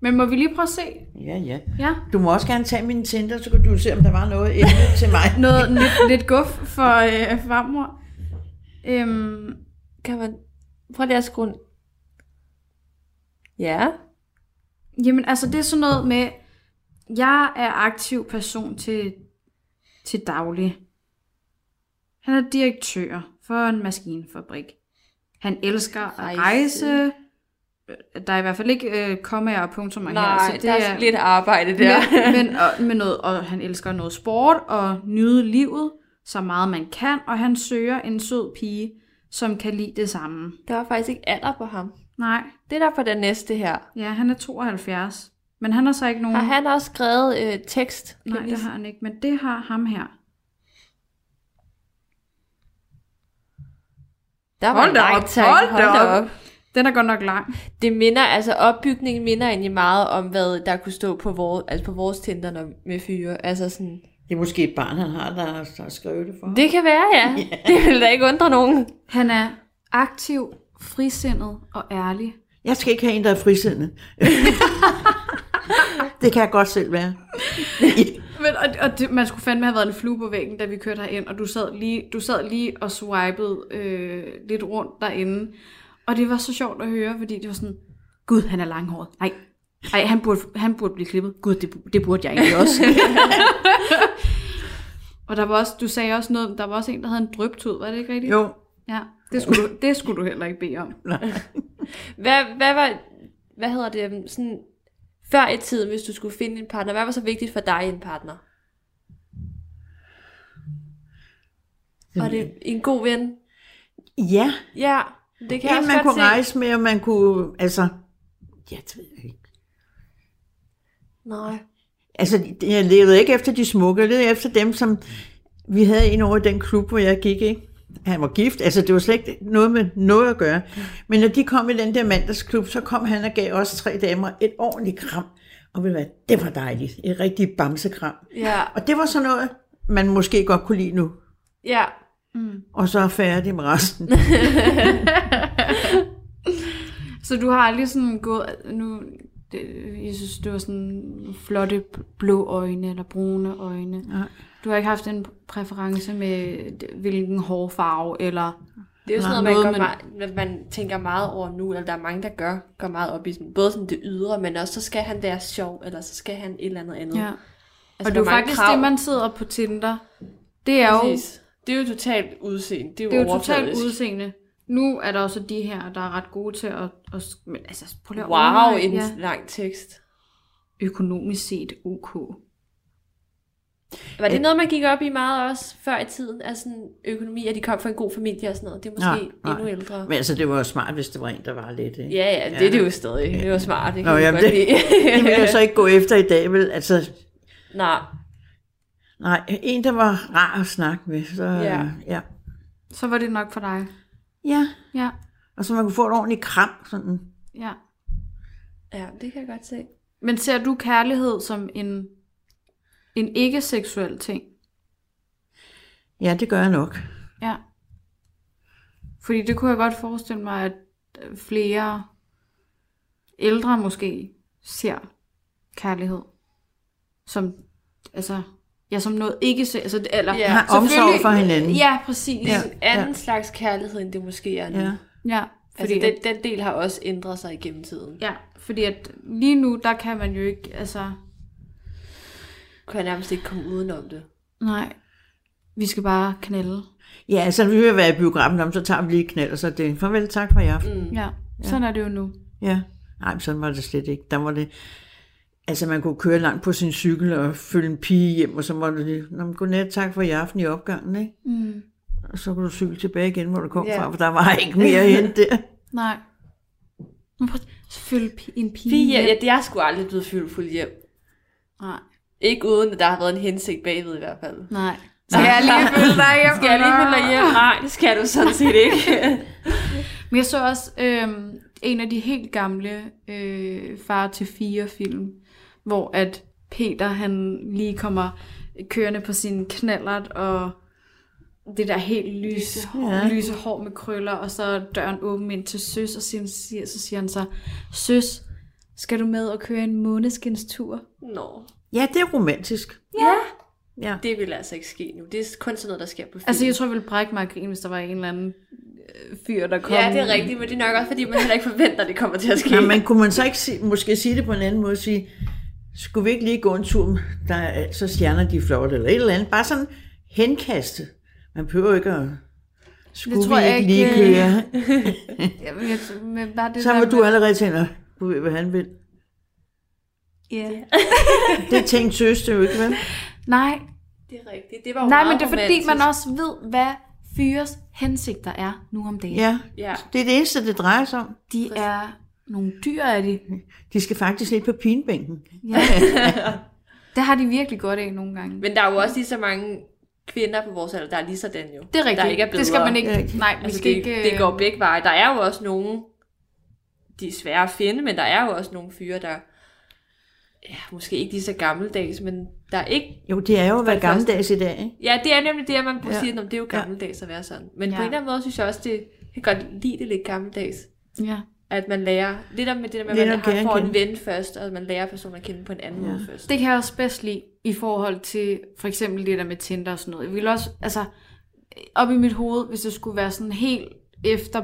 men må vi lige prøve at se? Ja, ja. Ja. Du må også gerne tage min Tinder, så kan du se, om der var noget emne til mig. Noget lidt, lidt guf for øh, farmor. Øhm, kan man... Prøv lige at skrue en- Ja. Jamen, altså det er sådan noget med, jeg er aktiv person til, til daglig. Han er direktør for en maskinfabrik. Han elsker at Rejse. rejse. Der er i hvert fald ikke øh, kommaer og punktummer her. Nej, der altså, er lidt arbejde der. men, men, og, med noget, og han elsker noget sport og nyde livet så meget man kan, og han søger en sød pige, som kan lide det samme. Der var faktisk ikke alder på ham. Nej, Det er der på den næste her. ja, han er 72. Men han har så ikke nogen... Har han også skrevet øh, tekst? Kan Nej, vi det se? har han ikke, men det har ham her. Der var Hold en da lang op, tanke. hold da op. op. Den er godt nok lang. Det minder, altså opbygningen minder egentlig meget om, hvad der kunne stå på vores, altså på vores Tinder når, med fyre. Altså sådan, Det er måske et barn, han har, der har der har skrevet det for. ham. det kan være, ja. Det vil da ikke undre nogen. Han er aktiv, frisindet og ærlig. Jeg skal ikke have en, der er frisindet. det kan jeg godt selv være. Men, og, og det, man skulle fandme have været en flue på væggen, da vi kørte herind, og du sad lige, du sad lige og swipede øh, lidt rundt derinde. Og det var så sjovt at høre, fordi det var sådan, gud, han er langhåret. Nej, Ej, han burde, han burde blive klippet. Gud, det, bu- det burde jeg egentlig også. og der var også, du sagde også noget, om- der var også en, der havde en drøbtud, var det ikke rigtigt? Jo, Ja, det skulle, du, det skulle du heller ikke bede om. Hvad, hvad var, hvad hedder det, øhm, sådan, før i tiden, hvis du skulle finde en partner, hvad var så vigtigt for dig i en partner? Var det en god ven? ja. Ja, det kan jeg En, også man godt kunne se. rejse med, og man kunne, altså, ja, det ved jeg ikke. Nej. Altså, jeg levede ikke efter de smukke, jeg levede efter dem, som vi havde en over i den klub, hvor jeg gik, ikke? Han var gift, altså det var slet ikke noget med noget at gøre. Men når de kom i den der mandagsklub, så kom han og gav os tre damer et ordentligt kram. Og ved du hvad, det var dejligt. Et rigtigt bamsekram. Ja, Og det var sådan noget, man måske godt kunne lide nu. ja. Og så er færdig med resten. Så du har aldrig sådan gået, nu, det, jeg synes, det var sådan flotte blå øjne, eller brune øjne. Nej. Du har ikke haft en præference med, d- hvilken hårfarve, eller... Det er jo sådan Nej, noget, man, noget, går meget, man tænker meget over nu, eller der er mange, der gør, går meget op i sådan, både sådan det ydre, men også så skal han være sjov, eller så skal han et eller andet andet. Ja. Altså, Og det der er jo er mange faktisk krav. det, man sidder på Tinder. Det er jo, Præcis. Det er jo totalt udseende. Det er jo, det er jo totalt overfladisk. udseende. Nu er der også de her, der er ret gode til at... at s- men altså, prøv lige at Wow, overveje, en ja. lang tekst. Økonomisk set ok. Var det Øh. noget, man gik op i meget også før i tiden? Altså sådan økonomi, at de kom fra en god familie og sådan noget. Det er måske Nej, nej. endnu ældre. Men altså, det var jo smart, hvis det var en, der var lidt. Ikke? Ja, ja, det ja. er det jo stadig. Det var smart. Det kan Nå, vi jamen, godt det- Det vil jeg så lide. ikke gå efter i dag, vel? Altså, Nej, nej, en, der var rar at snakke med. Så, Ja. ja. Så var det nok for dig. Ja, Ja, og så man kunne få et ordentligt kram. Sådan. ja. ja, det kan jeg godt se. Men ser du kærlighed som en, en ikke-seksuel ting? Ja, det gør jeg nok. Ja. Fordi det kunne jeg godt forestille mig, at flere ældre måske ser kærlighed. Som, altså, ja, som noget ikke... se- Altså, eller, Ja. Har omsorg selvfølgelig- for hinanden. Ja, præcis. Det Ja. er en anden slags kærlighed, end det måske er nu. Ja. Ja. ja Fordi fordi altså, den, den del har også ændret sig igennem tiden. Ja, fordi at lige nu, der kan man jo ikke, altså, Kan jeg nærmest ikke komme udenom det. nej, vi skal bare knalde. Ja, altså, vi vil være i biografen om, så tager vi lige et knald, og så er det farvel, tak for i aften. Mm. Ja, sådan er det jo nu. Ja, nej, men sådan var det slet ikke. Der var det, altså man kunne køre langt på sin cykel og følge en pige hjem, og så var det lige, Nå, men godnat, tak for i aften i opgangen, ikke? Mm, Og så kunne du cykle tilbage igen, hvor du kom Ja. fra, for der var ikke mere end der. nej. Men prøv, selvfølgelig pi- en pige. Fie, ja, hjem. ja, det er sgu aldrig blevet fyldt fuld hjem. Nej, Ikke uden, at der har været en hensigt bagved i hvert fald. nej. Skal jeg lige følge dig hjem? Skal jeg lige med dig hjem? Nej, det skal du sådan set ikke. Men jeg så også øh, en af de helt gamle øh, Far til fire film, hvor at Peter han lige kommer kørende på sin knallert og det der helt lyse, Ja. ja. lyse hår med krøller, og så er døren åben ind til søs, og siger, siger- så siger han så, søs, skal du med og køre en måneskinstur? Nå, Ja, det er romantisk. ja. Ja. Det vil altså ikke ske nu. Det er kun sådan noget, der sker på film. Altså, jeg tror, jeg ville brække mig af grin, hvis der var en eller anden øh, fyr, der kom. Ja, det er rigtigt, men det er nok også, fordi man heller ikke forventer, at det kommer til at ske. Nå, men kunne man så ikke sige, måske sige det på en anden måde, sige, skulle vi ikke lige gå en tur, der er, så stjerner de er flotte, eller et eller andet, bare sådan henkaste. Man behøver ikke at, skulle tror vi jeg ikke lige ikke, øh, køre? Ja, men jeg- men bare det Så der må du med- allerede tænke, "Nå, du ved, hvad han vil. Ja. Det tænkte søster jo ikke, vel? Nej, Det er rigtigt. Det var jo Nej, meget men det er fordi, man romantisk. også ved, hvad fyres hensigter er nu om dagen. Ja, Ja. det er det eneste, det drejer sig om. De er nogle dyr af de. De skal faktisk lidt på pinebænken. Ja. det har de virkelig godt af nogle gange. Men der er jo også lige så mange kvinder på vores alder, der er lige sådan jo. Det er rigtigt. Der ikke er bedre. det skal man Det er ikke. rigtigt. Nej, vi Altså, skal det, ikke... øh, ikke... det går begge veje. Der er jo også nogen, de er svære at finde, men der er jo også nogle fyre, der ja, måske ikke lige så gammeldags, men der er ikke... Jo, det er jo at være det første. gammeldags i dag, ikke? Ja, det er nemlig det, at man Ja. ja. siger, at det er jo gammeldags at være sådan. Men ja. Ja. på en eller anden måde synes jeg også, det jeg kan godt lide det lidt gammeldags. Ja. At man lærer lidt om det der med, at Lidt man om det har, at får en kende. ven først, og at man lærer personen at kende på en anden ja. måde først. Det kan jeg også bedst lide i forhold til for eksempel det der med Tinder og sådan noget. Jeg ville også, altså, op i mit hoved, hvis det skulle være sådan helt efter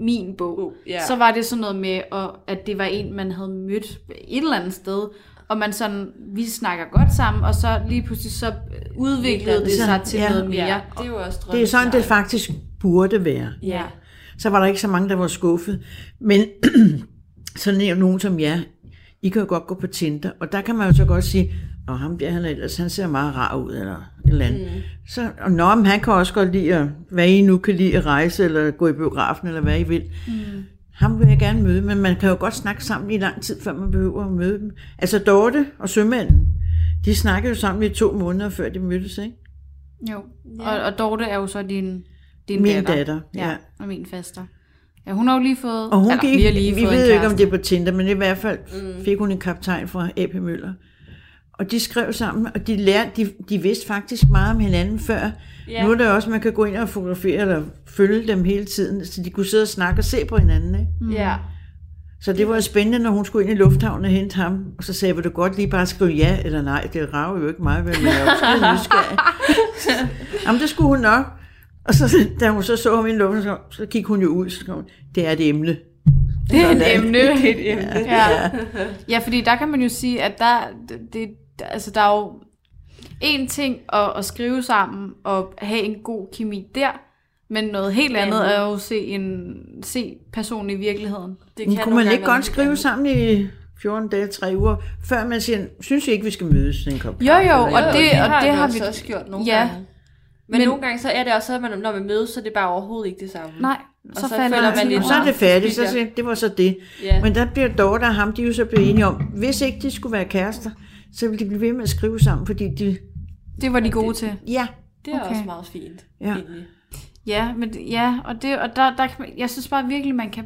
min bog, Uh, ja. så var det sådan noget med, at- at det var en, man havde mødt et eller andet sted, og man sådan, vi snakker godt sammen, og så lige pludselig så udviklede det sig til Ja. noget mere. Ja, det er jo også Det er sådan, det drømmescenariet. faktisk burde være. Ja. Så var der ikke så mange, der var skuffet. Men sådan er nogen som jer, I kan jo godt gå på Tinder, og der kan man jo så godt sige, og ham der, han, er ellers, han ser meget rar ud, eller et eller andet. Mm. Så, og nå, men han kan også godt lide, at, hvad I nu kan lide at rejse, eller gå i biografen, eller hvad I vil. Mm. Ham vil jeg gerne møde, men man kan jo godt snakke sammen i lang tid, før man behøver at møde dem. Altså Dorte og sømanden, de snakkede jo sammen i to måneder, før de mødtes, ikke? Jo, og, og Dorte er jo så din, din Min datter. datter, ja. Og min faster. Ja, hun har jo lige fået... Og hun eller, gik, vi har lige vi fået ved en jo ikke, om kæreste. det er på Tinder, men i hvert fald mm. fik hun en kaptajn fra AP Møller. Og de skrev sammen, og de, lærte, de, de vidste faktisk meget om hinanden før. Ja. Yeah. Nu er der også, man kan gå ind og fotografere eller følge dem hele tiden, så de kunne sidde og snakke og se på hinanden. Ikke? Mm. ja. Så det var jo spændende, når hun skulle ind i lufthavnen og hente ham, og så sagde jeg, vil du godt lige bare skrive ja eller nej? Det rager jo ikke mig, vel, men jeg er jo skide nysgerrig. Jamen, det skulle hun nok. Og så, da hun så så ham i lufthavnen, så, så gik hun jo ud, så skrev hun, det er et emne. Det er et emne. Det er et emne. Ja. ja, fordi der kan man jo sige, at der, det, altså, der er jo en ting at, at skrive sammen og have en god kemi der, men noget helt andet er jo at se, en, se personen i virkeligheden. Det Men kan kunne nogle man gange ikke være godt helt skrive andet. sammen i 14 dage, 3 uger, før man siger, synes I ikke, vi skal mødes til en kop? Jo, jo, Jo, og jo, det, og det vi har også, vi... også gjort nogle ja. ja. gange. Men, men Men- nogle gange så er det også, at man, når man mødes, så er det bare overhovedet ikke det samme. Nej, Og så, så falder føler man man lidt- Og så er det færdigt, så siger, det var så det. Ja. Men der bliver Dorte og ham, de er jo så blevet enige om, hvis ikke de skulle være kærester, så ville de blive ved med at skrive sammen, fordi de, Det var de gode til. ja, Det er okay. Okay. også meget fint. Ja. egentlig. Ja, men, det- ja og, det, og der, der kan man, jeg synes bare virkelig, man kan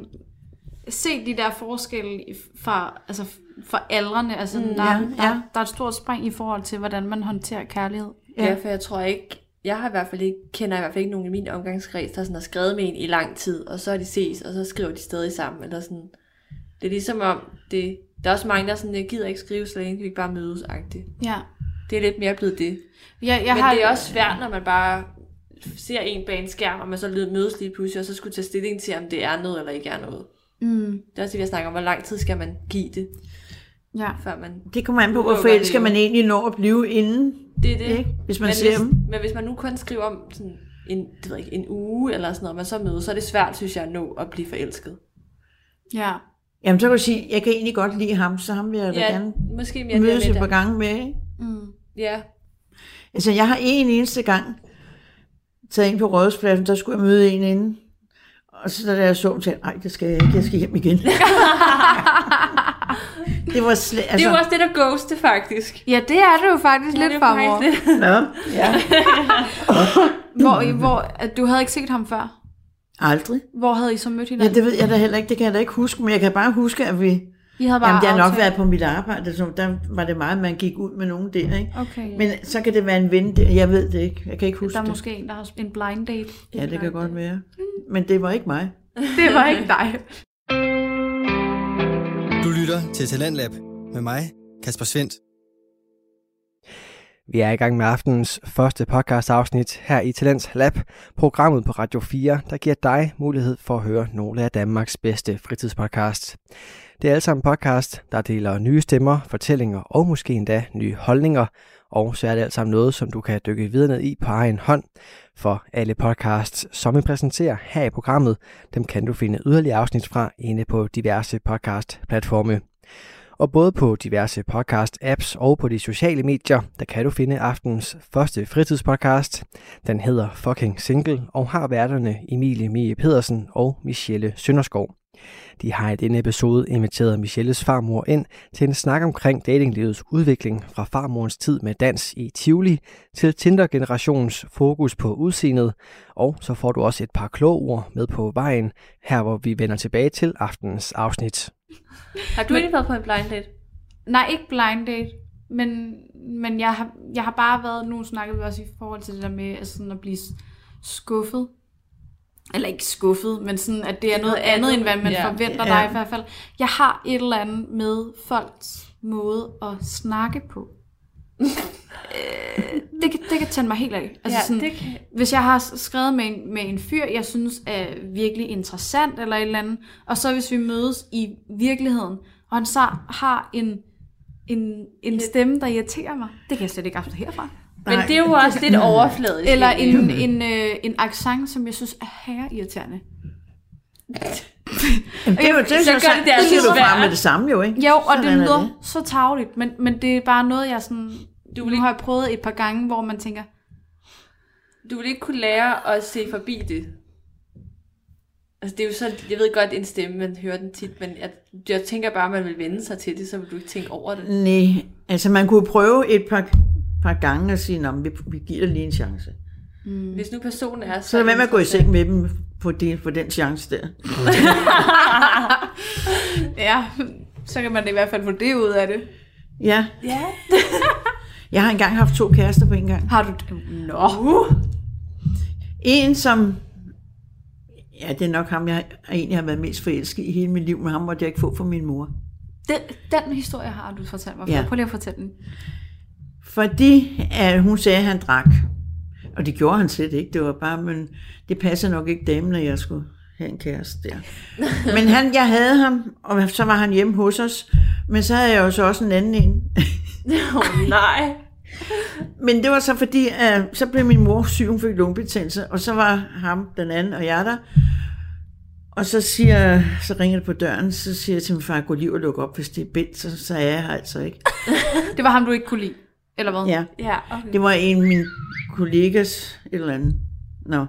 se de der forskelle i- fra, altså fra aldrene. Altså, mm, der, ja, ja, der, ja. der er et stort spring i forhold til, hvordan man håndterer kærlighed. Ja. Ja. ja, for jeg tror ikke, jeg har i hvert fald ikke, kender i hvert fald ikke nogen i min omgangskreds, der sådan har skrevet med en i lang tid, og så har de ses, og så skriver de stadig sammen, eller sådan. Det er ligesom om, det Der er også mange, der er sådan, jeg gider ikke skrive, så længe vi ikke bare mødes -agtigt. Ja. Det er lidt mere blevet det. Jeg, jeg Jeg Men har, har... det er også svært, når man bare ser en bag en skærm, og man så lyder mødes lige pludselig, og så skulle tage stilling til, om det er noget eller ikke er noget. Mm, Det er også det, vi har snakket om, hvor lang tid skal man give det, ja. før man... Det kommer an på, hvor Lukker forelsket det. man egentlig når at blive inden, Det er det. ikke? hvis man men, ser dem. hvis, men hvis man nu kun skriver om sådan en, det ved jeg ikke, en uge eller sådan noget, man så mødes, så er det svært, synes jeg, at nå at blive forelsket. Ja. Jamen, så kan du sige, jeg kan egentlig godt lide ham, så ham vil jeg da Ja, gerne måske mere ja, det her mødes med, et par at- gange med. Ikke? Mm. Ja, Altså, jeg har en eneste gang taget ind på rådhuspladsen, der skulle jeg møde en inden. Og så da jeg så ham, tænkte nej, det skal jeg ikke, jeg skal hjem igen. det var slet, det altså, er jo også det, der ghoste, faktisk. Ja, det er det jo faktisk Ja, lidt det for er faktisk mig. lidt. nå, ja, Hvor, hvor at du havde ikke set ham før. aldrig. Hvor havde I så mødt Ja, hinanden? det ved jeg da heller ikke, det kan jeg da ikke huske, men jeg kan bare huske, at vi, I havde bare jamen, det har nok aftalt- været på mit arbejde, så der var det meget, man gik ud med nogen der, ikke? Okay. Men Men så kan det være en ven, der. jeg ved det ikke, jeg kan ikke huske der er det. måske en, der har en blind date. Ja, det kan godt være. Men det var ikke mig. Det var ikke dig. Du lytter til Talentlab med mig, Kasper Svendt. Vi er i gang med aftenens første podcastafsnit her i Talents Lab, programmet på Radio 4, der giver dig mulighed for at høre nogle af Danmarks bedste fritidspodcasts. Det er alle sammen podcast, der deler nye stemmer, fortællinger og måske endda nye holdninger, og så er det alt sammen noget, som du kan dykke videre ned i på egen hånd. For alle podcasts, som vi præsenterer her i programmet, dem kan du finde yderligere afsnit fra inde på diverse podcast-platforme. Og både på diverse podcast-apps og på de sociale medier, der kan du finde aftens første fritidspodcast. Den hedder Fucking Single og har værterne Emilie Mie Pedersen og Michelle Sønderskov. De har i denne episode inviteret Michelles farmor ind til en snak omkring datinglivets udvikling fra farmorens tid med dans i Tivoli til Tinder-generationens fokus på udseendet, og så får du også et par kloge ord med på vejen, her hvor vi vender tilbage til aftenens afsnit. Har du Men- egentlig været på en blind date? Nej, ikke blind date. Men, men jeg, har, jeg har bare været, nu snakkede vi også i forhold til det der med altså sådan at blive s- skuffet. Eller ikke skuffet, men sådan, at det er noget andet, end hvad man Ja. ja, forventer Ja. ja. dig i hvert fald. Jeg har et eller andet med folks måde at snakke på. Øh, det, kan, det kan tænde mig helt af. Altså sådan, kan... hvis jeg har skrevet med en, med en fyr, jeg synes er virkelig interessant eller et eller andet, og så hvis vi mødes i virkeligheden, og han så har en, en, en stemme, der irriterer mig, det kan jeg slet ikke afstå herfra. Men Nej. det er jo også lidt overfladisk. Eller egentlig. en, en, øh, en accent, som jeg synes er herre irriterende. Jamen, det er jo det, så så, gør det så det altså siger du sværere. bare med det samme jo, ikke? Jo, og Sådan det er lyder så tageligt, men, men det er bare noget, jeg sådan... Du Du vil nu ikke- har jeg prøvet et par gange, hvor man tænker, Du vil ikke kunne lære at se forbi det. Altså, det er jo så, jeg ved godt, en stemme, man hører den tit, men jeg, jeg tænker bare, at man vil vende sig til det, så vil du ikke tænke over det. Nej, altså man kunne prøve et par, par gange at sige, "Nå, men vi, vi giver dig lige en chance. Hvis nu personen er Mm. Så lad være med at gå i seng med dem på, det, på den chance der. ja, så kan man i hvert fald få det ud af det. Ja, Ja. jeg har engang haft to kærester på en gang. Har du... Nå. En som, ja det er nok ham, jeg egentlig har været mest forelsket i hele mit liv, men ham måtte jeg ikke få fra min mor. Den, den historie har du fortalt mig. Ja. Ja. Prøv lige at fortælle den. Fordi at hun sagde, at han drak. Og det gjorde han slet ikke. Det var bare, men det passer nok ikke damen, at jeg skulle have en kæreste der. men han, jeg havde ham, og så var han hjemme hos os. Men så havde jeg jo så også en anden en. Oh, nej. men det var så fordi, at så blev min mor syg, hun fik lungebetændelse, og så var ham, den anden og jeg der. Og så, siger, så ringer det på døren, så siger jeg til min far, gå lige og luk op, hvis det er bindt, så, så er jeg her altså ikke. Det var ham, du ikke kunne lide, eller hvad? Ja. Ja, okay. Det var en af mine kollegas et eller andet. Nå.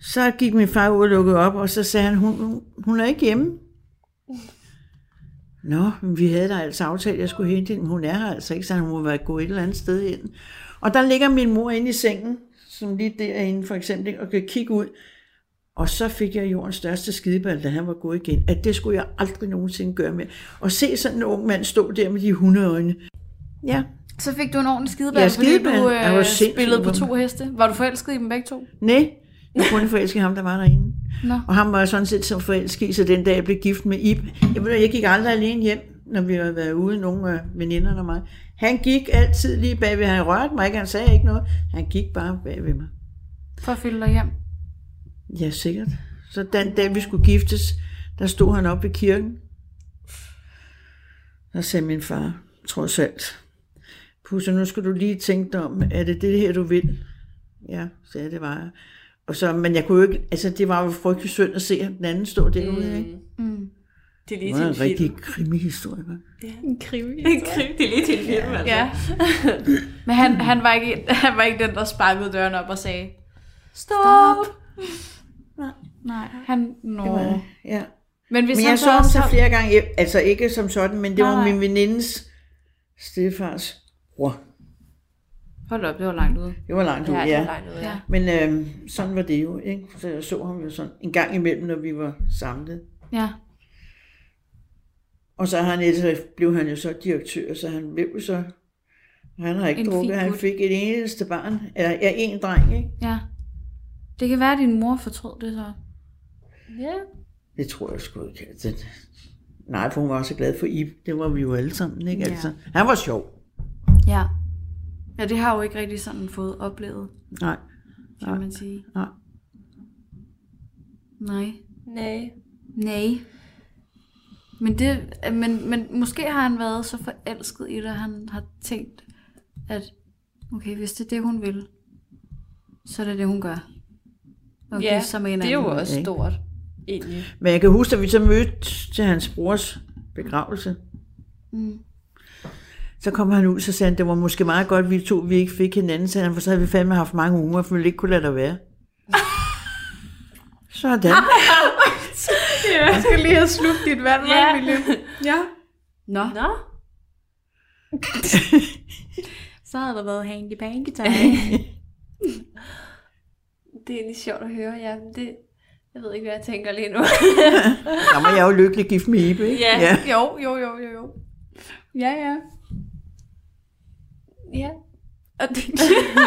Så gik min far ud og lukkede op, og så sagde han, hun, hun- hun er ikke hjemme. Nå, men vi havde da altså aftalt, at jeg skulle hente hende, men hun er her altså ikke, så hun må være gået et eller andet sted hen. Og der ligger min mor inde i sengen, som lige derinde for eksempel, ikke, og kan kigge ud. Og så fik jeg jordens største skideball, da han var gået igen, at det skulle jeg aldrig nogensinde gøre med. Og se sådan en ung mand stå der med de hundeøjne. Ja, Så fik du en ordentlig skideball, Ja, fordi skideball. du Jeg var øh, sindssyg spillede på på dem. to heste. Var du forelsket i dem begge to? Nej, jeg kunne forelske ham, der var derinde. Nå. Og ham var jeg sådan set som forelsket i, så den dag jeg blev gift med Ib. Jeg, ved, jeg gik aldrig alene hjem, når vi havde været ude, nogle af veninderne og mig. Han gik altid lige bagved. Han rørte mig ikke, han sagde ikke noget. Han gik bare bagved mig. For at fylde dig hjem. Ja, sikkert. Så den dag, vi skulle giftes, der stod han op i kirken. Der sagde min far, trods alt, Pusse, nu skal du lige tænke dig om, er det det her, du vil? Ja, sagde jeg, det var jeg. Og så, men jeg kunne jo ikke, altså det var jo frygtelig synd at se ham den anden stå derude, mm. ikke? Mm. Det Det er lige var til en en rigtig film. krimihistorie, hva'? En krimi. En krim, det er lige til en film, altså. Ja. Men han, han, var ikke, han var ikke den, der sparkede døren op og sagde, Stop! nej, han, no. Det var- Ja. Men hvis Men han jeg så ham så også- flere gange, altså ikke som sådan, men det Nej, var nej. min venindes stedfars bror. Hold op, det var langt ude. Det var langt ud, Ja, ja. det er langt ud, ja. Ja. Men øh, sådan var det jo, ikke? Så jeg så ham jo sådan en gang imellem, når vi var samlet. Ja. Og så, har han, så blev han jo så direktør, så han blev jo så... Han har ikke En fin drukket, han gut. fik et eneste barn, eller ja, en dreng, ikke? Ja. Det kan være, at din mor fortrød det så. ja. Det tror jeg sgu ikke. Det, nej, for hun var så glad for Ib. Det var vi jo alle sammen, ikke? Ja. Ja. Altså, han var sjov. Ja. Ja, det har jeg jo ikke rigtig sådan fået oplevet, Nej, kan Nej. man sige. nej. Nej. Nej. Nej. Men, det, men, men måske har han været så forelsket i det, at han har tænkt, at okay, hvis det er det, hun vil, så er det det, hun gør. Og Ja, gifte sig med en det er jo anden. også ikke? stort, egentlig. Men jeg kan huske, at vi så mødte til hans brors begravelse. Mm. Så kom han ud, så sagde han, det var måske meget godt, vi to vi ikke fik hinanden, sagde han, for så havde vi fandme haft mange unger, for vi ville ikke kunne lade dig være. Sådan. Jeg skal lige have slugt dit vand, Ja. ja. Nå, Nå, så havde der været hanky panky det er egentlig sjovt at høre, ja. men Det, jeg ved ikke, hvad jeg tænker lige nu. Der var jeg jo lykkelig gift med Ibe, ikke? Ja. Jo, jo, jo, jo, jo. Ja, ja. ja. Og det,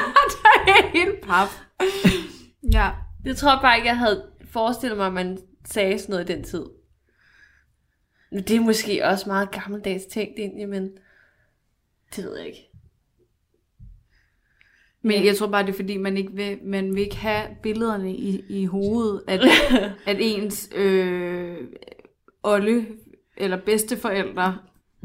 der er helt pap. Ja. Jeg tror bare ikke, jeg havde forestillet mig, at man sagde sådan noget i den tid. Men det er måske også meget gammeldags tænkt egentlig, men det ved jeg ikke. Men jeg tror bare, det er fordi, man ikke vil, man vil ikke have billederne i, i hovedet, at, at ens øh, olle eller bedsteforældre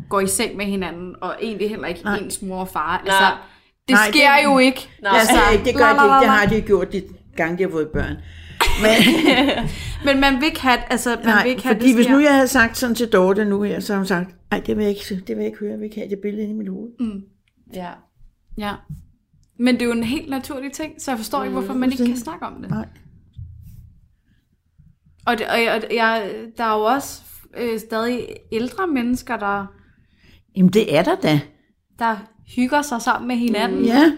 går i seng med hinanden, og egentlig heller ikke Nej. Nej. ens mor og far. Nej. Altså, det Nej, sker det- jo ikke. Nej. Altså, Altså, det gør la, de la, la, ikke, det la. har de gjort de gange, de har fået børn. Men, Men man vil ikke have, altså, man nej, vil ikke have fordi det hvis sker. nu jeg havde sagt sådan til Dorte nu her, så har hun sagt, nej, det vil jeg ikke, det vil jeg ikke høre, jeg vil ikke have det billede inde i mit hoved. Mm, Ja. ja. Men det er jo en helt naturlig ting, så jeg forstår ikke, hvorfor man ikke kan snakke om det. Nej. Og, det, og, jeg, og jeg, der er jo også øh, stadig ældre mennesker, der, Jamen, det er der da. Mm. der hygger sig sammen med hinanden. Ja,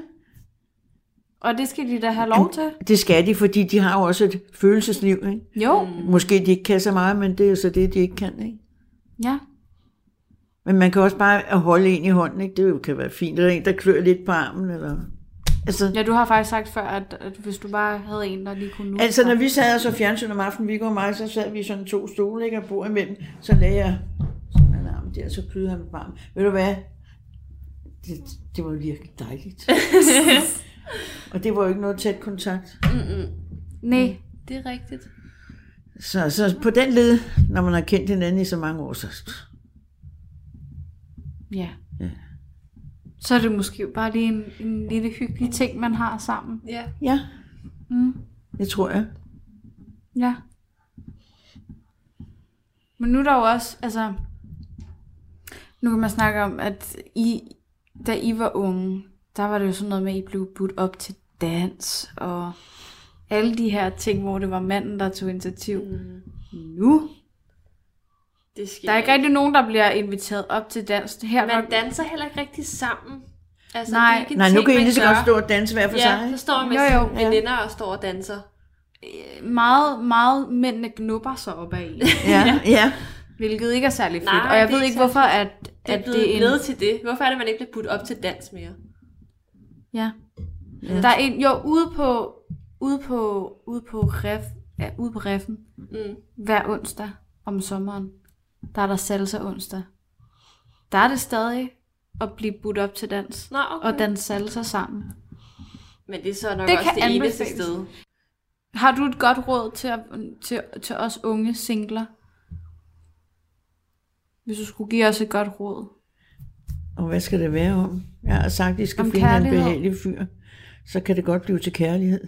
Og det skal de da have lov til. det skal de, fordi de har jo også et følelsesliv, ikke? Jo, Måske de ikke kan så meget, men det er jo så det, de ikke kan, ikke? ja. Men man kan også bare at holde en i hånden, ikke? Det jo kan være fint. Eller en, der klør lidt på armen, eller... Altså, Ja, du har faktisk sagt før, at, at hvis du bare havde en, der lige kunne nu. altså når vi sad og så fjernsyn om aftenen, vi og mig, så sad vi i sådan to stole, ikke? Og bord imellem. Så lagde jeg sådan en arm der, så klydede han med armen. Ved du hvad? Det, det var jo virkelig dejligt. og det var jo ikke noget tæt kontakt. Nej, Mm. Det er rigtigt. Så, så på den led, når man har kendt hinanden i så mange år, så... ja. Så er det måske bare lige en, en lille hyggelig ting, man har sammen. Ja. Ja, Mm. det tror jeg. Ja. Men nu er der jo også, altså, nu kan man snakke om, at I, da I var unge, der var det jo sådan noget med, at I blev budt op til dans, og alle de her ting, hvor det var manden, der tog initiativ. Mm-hmm. Nu? Det sker Der er ikke rigtig nogen, der bliver inviteret op til dans. Det her Man var... danser heller ikke rigtig sammen. Altså, Nej. det er ikke en Nej, nu ting, kan I man lige så gør. godt stå og danse hver for ja, sig. så står man med Jo, jo, jo. jo. sine veninder og står og danser. meget, meget mændene knupper sig op af i, Ja, ja. hvilket ikke er særlig fedt. Nej, og jeg det er ved ikke ikke, særlig hvorfor at, Det er at blevet det er en... nede til det. Hvorfor er det, man ikke bliver budt op til dans mere? Ja. Der er en, jo, ude på, ude på, ude på Ref, er ude på Reffen Mm. hver onsdag om sommeren. Der er der salsa onsdag. Der er det stadig at blive budt op til dans Nå, okay. og danse salsa sammen. Men det er så nok Det det også kan det eneste anbefales. sted. Har du et godt råd til, at, til, til os unge singler? Hvis du skulle give os et godt råd. Og hvad skal det være om? Jeg har sagt, at I skal Om om finde jer en kærlighed. behagelig fyr. Så kan det godt blive til kærlighed.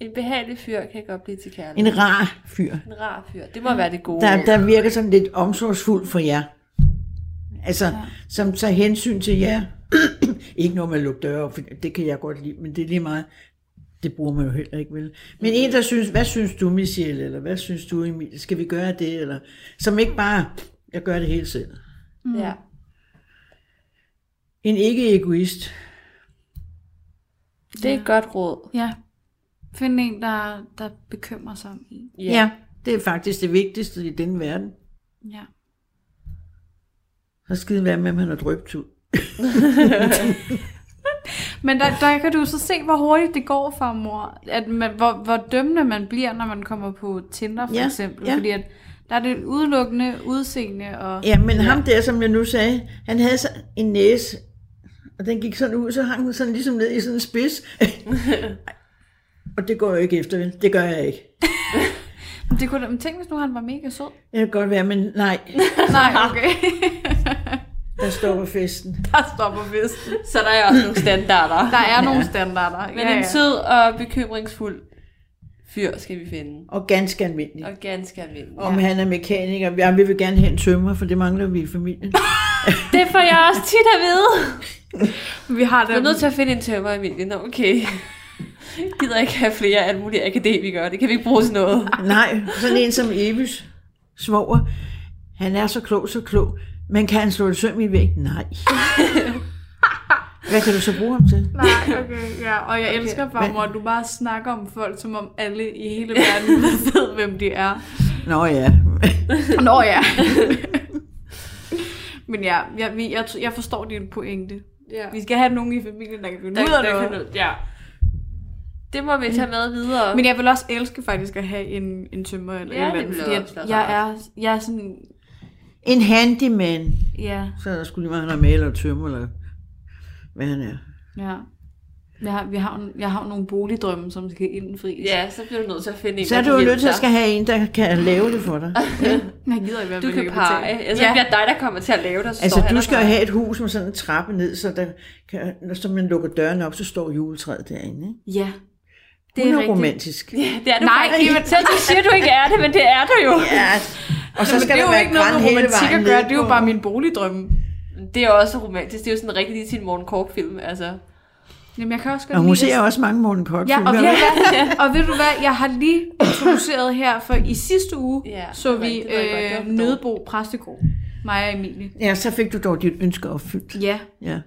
En behagelig fyr kan godt blive til kærlighed. En rar fyr, En rar fyr. Det må være det gode. der, der virker sådan lidt omsorgsfuld for jer. Altså, ja. som tager hensyn til jer. ikke noget med at lukke døre op, for det kan jeg godt lide, men det er lige meget. Det bruger man jo heller ikke, vel? Men en, der synes, hvad synes du, Michelle, eller hvad synes du, Emil, skal vi gøre det, eller som ikke bare, jeg gør det hele selv. Ja. Mm. En ikke-egoist. Det er et godt råd. Ja. Find en, der, der bekymrer sig om en. Ja. ja. Det er faktisk det vigtigste i denne verden. Ja. Så skide være med, om han har drøbt ud. Men der, der kan du så se, hvor hurtigt det går for mor. At man, hvor, hvor dømmende man bliver, når man kommer på Tinder for Ja, eksempel. ja. Fordi at der er det udelukkende udseende. Og, Ja, men ja. ham der, som jeg nu sagde, han havde så en næse, og den gik sådan ud, så hang den sådan ligesom ned i sådan en spids. og det går jeg ikke efter, vel? Det gør jeg ikke. Men Det kunne, da- men tænk, hvis nu han var mega sød. Det kan godt være, men nej, Nej, okay. der stopper festen. der stopper festen. Så der er også nogle standarder. Der er nogle standarder. Men en sød og bekymringsfuld fyr skal vi finde. Og ganske almindelig. Og ganske almindelig. Om han er mekaniker, ja, vi vil gerne have en tømmer, for det mangler vi i familien. Det får jeg også tit at vide. Vi har Du er det. nødt til at finde en tømmer, Emilie. Nå, okay. Jeg gider ikke have flere af alle mulige akademikere. Det kan vi ikke bruge til noget. nej, sådan en som Evis svoger, han er så klog, så klog. Men kan han slå et søm i en væg? Nej. Hvad kan du så bruge ham til? Nej, okay, ja. Og jeg okay. elsker bare, men- mor, at du bare snakker om folk, som om alle i hele verden ved, hvem de er. Nå ja, Nå ja. Men ja, jeg, vi- jeg, jeg forstår din pointe. Ja. Vi skal have nogen i familien, der kan finde Der, ud af der noget. kan noget. Ja. Det må vi tage med videre. Men jeg vil også elske faktisk at have en, en tømmer eller Ja, et det eller andet, ville fordi også at være jeg rart. er, jeg er sådan, En handyman. ja, Så er der skulle lige meget, han er maler og tømmer, eller hvad han er. ja. Jeg har, vi har, jo- jeg har jo nogle boligdrømme, som skal indfries. ja, så bliver du nødt til at finde en, Så er der du kan jo hjælpe nødt til at dig. skal have en, der kan lave det for dig. Jeg gider i hvert Du fald kan ikke at pege. betale. Altså, det bliver dig, der kommer til at lave det. Så Altså, står han du og skal jo peger. have et hus med sådan en trappe ned, så, der kan, når så man lukker dørene op, så står juletræet derinde. Ikke? Ja. Det er, romantisk. Ja, det er du Nej, Nej, Eva- faktisk. Selv du siger, du ikke er det, men det er du jo. Ja, og så skal Men det er der jo være ikke noget græn med hele romantik vejen at gøre, ned det er jo på- bare min boligdrømme. Det er også romantisk. Det er jo sådan rigtig lige til en Morten Kork-film, altså. Jamen, jeg kan også godt Og hun lide ser også mange Morten Kork. Ja, og ved, du hvad, og ved du hvad, jeg har lige introduceret her, for i sidste uge Ja, så det var- vi det var godt, det var øh, for Nødebo Præstegård, mig og Emilie. ja, så fik du dog dit ønske opfyldt. Ja, Ja.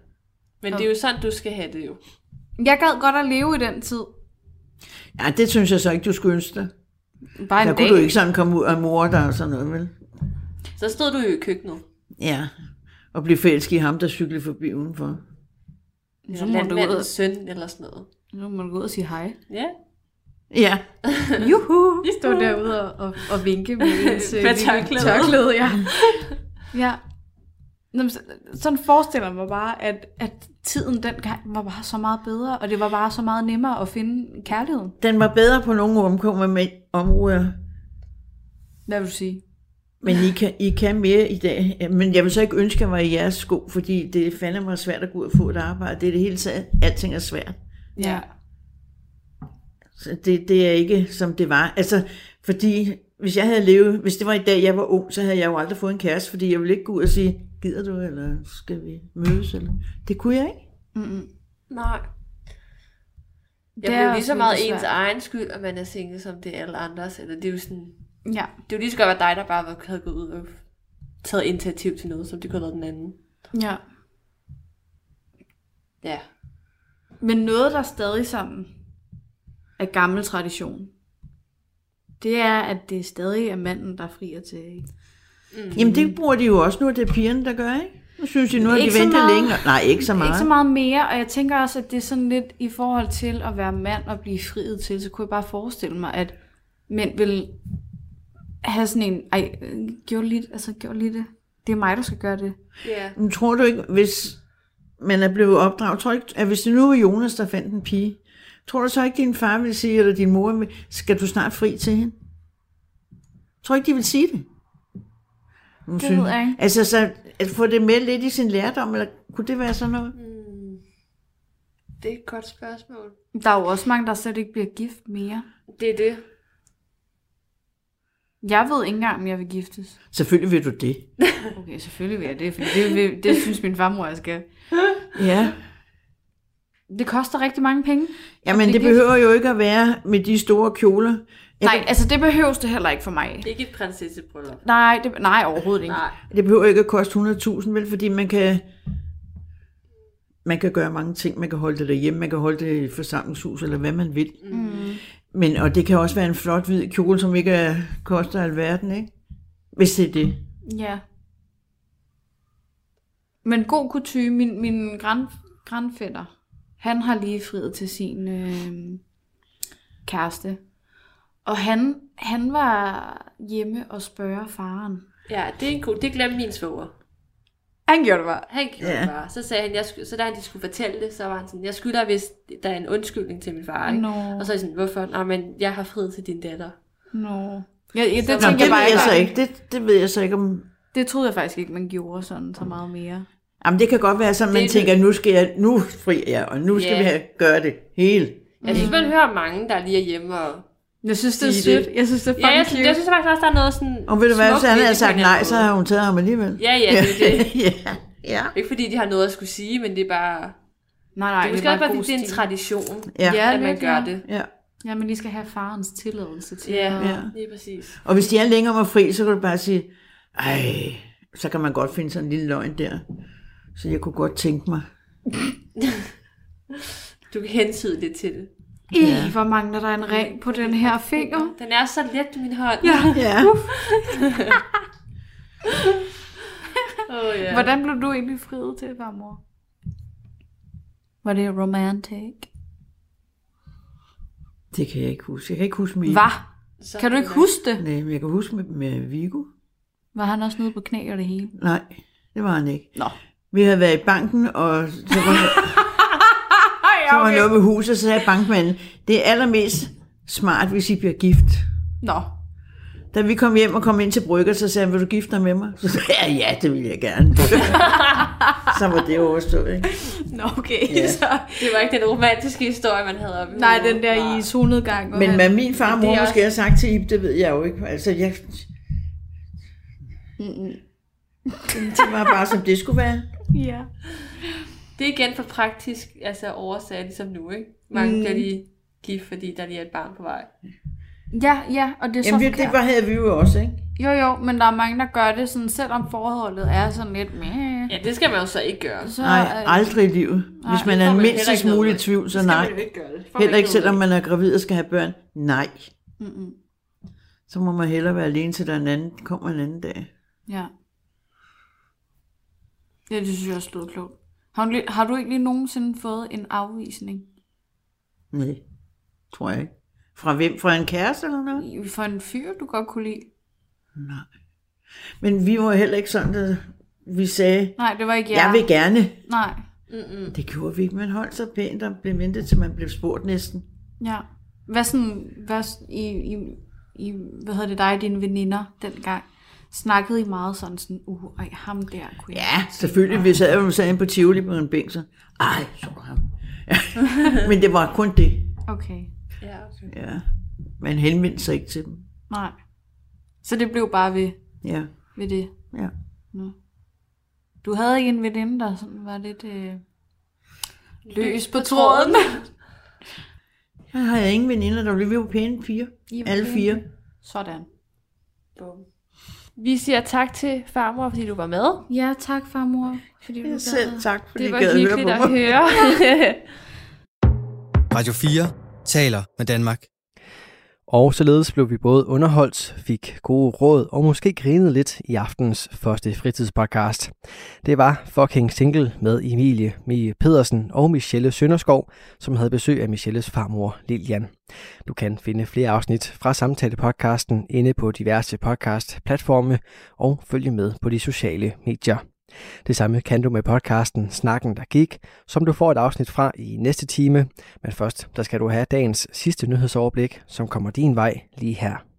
Men det er jo sådan, du skal have det jo. jeg gad godt at leve i den tid. ja, det synes jeg så ikke, du skulle ønske dig. Bare en Der dag. kunne du ikke sådan komme ud og mor dig og sådan noget, vel? Så stod du jo i køkkenet. Ja, og blive forelsket i ham, der cyklede forbi udenfor. Ja, Så må du ud, landmandens søn eller sådan noget. nu må du gå ud og sige hej. Ja. Ja, Juhu! Vi stod derude og, og, og vinke med ens øh, Med lille tørklæde. tørklæde ja. ja. Nå, men så- Sådan forestiller jeg mig bare, at, at tiden dengang var bare så meget bedre, og det var bare så meget nemmere at finde kærligheden. den var bedre på nogle omkommer med områder, Hvad vil du sige? men I kan, I kan mere i dag. Men jeg vil så ikke ønske, at jeg var i jeres sko, fordi det er fandme mig svært at gå ud og få et arbejde. Det er det hele taget. Alting er svært. Ja. Så det, det er ikke, som det var. Altså, fordi hvis jeg havde levet, hvis det var i dag, jeg var ung, så havde jeg jo aldrig fået en kæreste, fordi jeg ville ikke gå ud og sige, gider du, eller skal vi mødes? Eller? Det kunne jeg ikke. Mm-mm. Nej. Jeg Det er det er jo lige også så meget lidt ens svært. egen skyld, at man er single, som det er alle andres. Eller det er jo sådan... Ja. Det er jo lige så godt være dig, der bare var- havde gået ud og taget initiativ til noget, som det kunne have været den anden. ja. Ja. Men noget, der er stadig sådan er gammel tradition, det er, at det stadig er manden, der frier til. Jamen det bruger de jo også nu, at det er pigerne, der gør, ikke? Nu synes de nu, at de Mm. Ikke så venter meget. længe. Nej, ikke så meget. Ikke så meget mere, og jeg tænker også, at det er sådan lidt i forhold til at være mand og blive friet til, så kunne jeg bare forestille mig, at mænd vil have sådan en, ej, øh, gjorde du lige, det? altså, gjorde du lige det. Det er mig, der skal gøre det. Ja. Men tror du ikke, hvis man er blevet opdraget, tror du ikke, at hvis det nu var Jonas, der fandt en pige, tror du så ikke, din far ville sige, eller din mor, vil- skal du snart fri til hende? Tror du ikke, de vil sige det? Nu Det synes- ved jeg ikke. Altså, så at få det med lidt i sin lærdom, eller kunne det være sådan noget? Mm. Det er et godt spørgsmål. Der er jo også mange, der slet ikke bliver gift mere. Det er det. Jeg ved ikke engang, om jeg vil giftes. Selvfølgelig vil du det. Okay, selvfølgelig vil jeg det, for det, det, det synes min farmor, jeg skal. Ja. Det koster rigtig mange penge. Jamen, Fordi det det- behøver jo ikke at være med de store kjoler. Jeg Nej, altså det behøves det heller ikke for mig. Ikke et prinsessebryllup. Nej, det, nej overhovedet ikke. Nej. Det behøver ikke at koste 100.000, vel? Fordi man kan, man kan gøre mange ting. Man kan holde det derhjemme, man kan holde det i et forsamlingshus, eller hvad man vil. Mm. Men, og det kan også være en flot hvid kjole, som ikke er, koster alverden, ikke? Hvis det er det. Ja. Men god kutume, min, min grand, grandfætter, han har lige friet til sin øh, kæreste. Og han, han var hjemme og spørger faren. Ja, det er en god... Det glemte min svoger. Han gjorde det bare. Han gjorde Ja. det bare. Så sagde han, jeg skulle, så da han de skulle fortælle det, så var han sådan, jeg skylder vist, der er en undskyldning til min far, ikke? Nå. Og så er jeg sådan, hvorfor? Nej, men jeg har friet til din datter. Nå. Ja, ja, det, Så- tænkte Nå, Tænker det jeg, ved bare jeg så var- ikke. Det, det ved jeg så ikke om... Det troede jeg faktisk ikke, man gjorde sådan så meget mere. Jamen, det kan godt være sådan, man Det- tænker, nu skal jeg, nu fri jeg, og nu skal Ja. vi have, gøre det hele. Jeg synes, man hører mange, der lige er hjemme og... Jeg synes, det er Sige det. sødt. Jeg synes, det er Ja, fucking jeg, synes, jeg synes faktisk også, der er noget sådan... Og ved du hvad, smukt hvis han ved havde det på sagt en eller nej, anden så måde. havde hun taget ham alligevel. Ja, ja, det er det. ja, ja. Ikke fordi de har noget at skulle sige, men det er bare... Nej, Ej, nej, det er måske bare også bare, god fordi det er en stil. tradition, Ja. Ja, at man lidt, gør ja. det. ja. Ja, men lige skal have farens tilladelse til. Ja, at- Ja. lige præcis. Og hvis de er længere om at fri, så kan du bare sige, ej, så kan man godt finde sådan en lille løgn der. Så jeg kunne godt tænke mig. Du kan hensyde lidt til det. I, hvor mangler der en ring på den her finger. Den er så let, min hånd. Ja. Ja. Oh, ja. Hvordan blev du egentlig friet til, farmor? Var det romantic? Det kan jeg ikke huske. Jeg kan ikke huske med Hvad? Så Kan du ikke huske det? Nej, men jeg kan huske med, med Vigo. Var han også nede på knæ og det hele? Nej, det var han ikke. Nå. Vi havde været i banken, og så var, Ej, så var han oppe i huset, og så sagde bankmanden, det er allermest smart, hvis I bliver gift. Nå. Da vi kom hjem og kom ind til brygger, så sagde han, vil du gifte dig med mig? Så sagde jeg, ja, det vil jeg gerne. så var det overstået, ikke? Nå, okay. Ja. Så, Det var ikke den romantiske historie, man havde oppe i nej, hovedet. den der i solnedgang. hvor Men han- hvad min far og Det mor også... er også- måske har sagt til Ib, det ved jeg jo ikke. Altså, jeg... det var bare, som det skulle være. Ja. Det er igen for praktisk altså årsager, ligesom nu, ikke? Mange mm. bliver lige gift, fordi der lige er et barn på vej. Ja, ja, og det er Jamen, så det, det var, havde vi jo også, ikke? Jo, jo, men der er mange, der gør det, sådan, selvom forholdet er sådan lidt med. Ja, det skal man jo så ikke gøre. Så, Nej, øh, aldrig i livet. Hvis man er man mindst heller ikke smule i noget. tvivl, så nej. jo ikke gøre det. Får man Heller ikke noget selvom man er gravid og skal have børn. Nej. Mm-mm. Så må man hellere være alene til der er en anden, kommer en anden dag. Ja. Ja, det synes jeg også lød klogt. Har, du- har du egentlig nogensinde fået en afvisning Nej, tror jeg ikke. Fra hvem? Fra en kæreste eller Mm. noget? i- for en fyr, du godt kunne lide? Nej. Men vi var heller ikke sådan, at vi sagde, Nej, det var ikke jer. jeg vil gerne. Nej. Det gjorde vi ikke. Man holdt sig pænt og blev ventet, til man blev spurgt næsten. Ja. Hvad sådan, hvad s- i, i, i, hvad hedder det dig og dine veninder dengang? Snakkede I meget sådan sådan, uh, ej, ham der kunne jeg. Ja, selvfølgelig. Vi sad jo sad inde på Tivoli på en bænk, så ej, så du ham. Men det var kun det. Okay. andet. Ja, okay. Ja. Man henvendte sig ikke til dem. Nej. Så det blev bare ved, Ja, ved det. ja. Du havde ikke en veninde, der sådan var lidt øh, løs på på tråden. tråden. Jeg havde ingen veninder, der blev vi var pæne piger. I var Alle pæne. fire. Sådan. Bum. Vi siger tak til farmor, fordi du var med. Ja, tak farmor, fordi du Ja, gad selv at- tak, fordi Det I var gad at høre hyggeligt på at mig. høre. Radio 4 taler med Danmark. Og således blev vi både underholdt, fik gode råd og måske grinede lidt i aftens første fritidspodcast. Det var Fucking Single med Emilie Mie Pedersen og Michelle Sønderskov, som havde besøg af Michelles farmor Lilian. Du kan finde flere afsnit fra samtalepodcasten inde på diverse podcast-platforme og følge med på de sociale medier. Det samme kan du med podcasten Snakken, der gik, som du får et afsnit fra i næste time. Men først, der skal du have dagens sidste nyhedsoverblik, som kommer din vej lige her.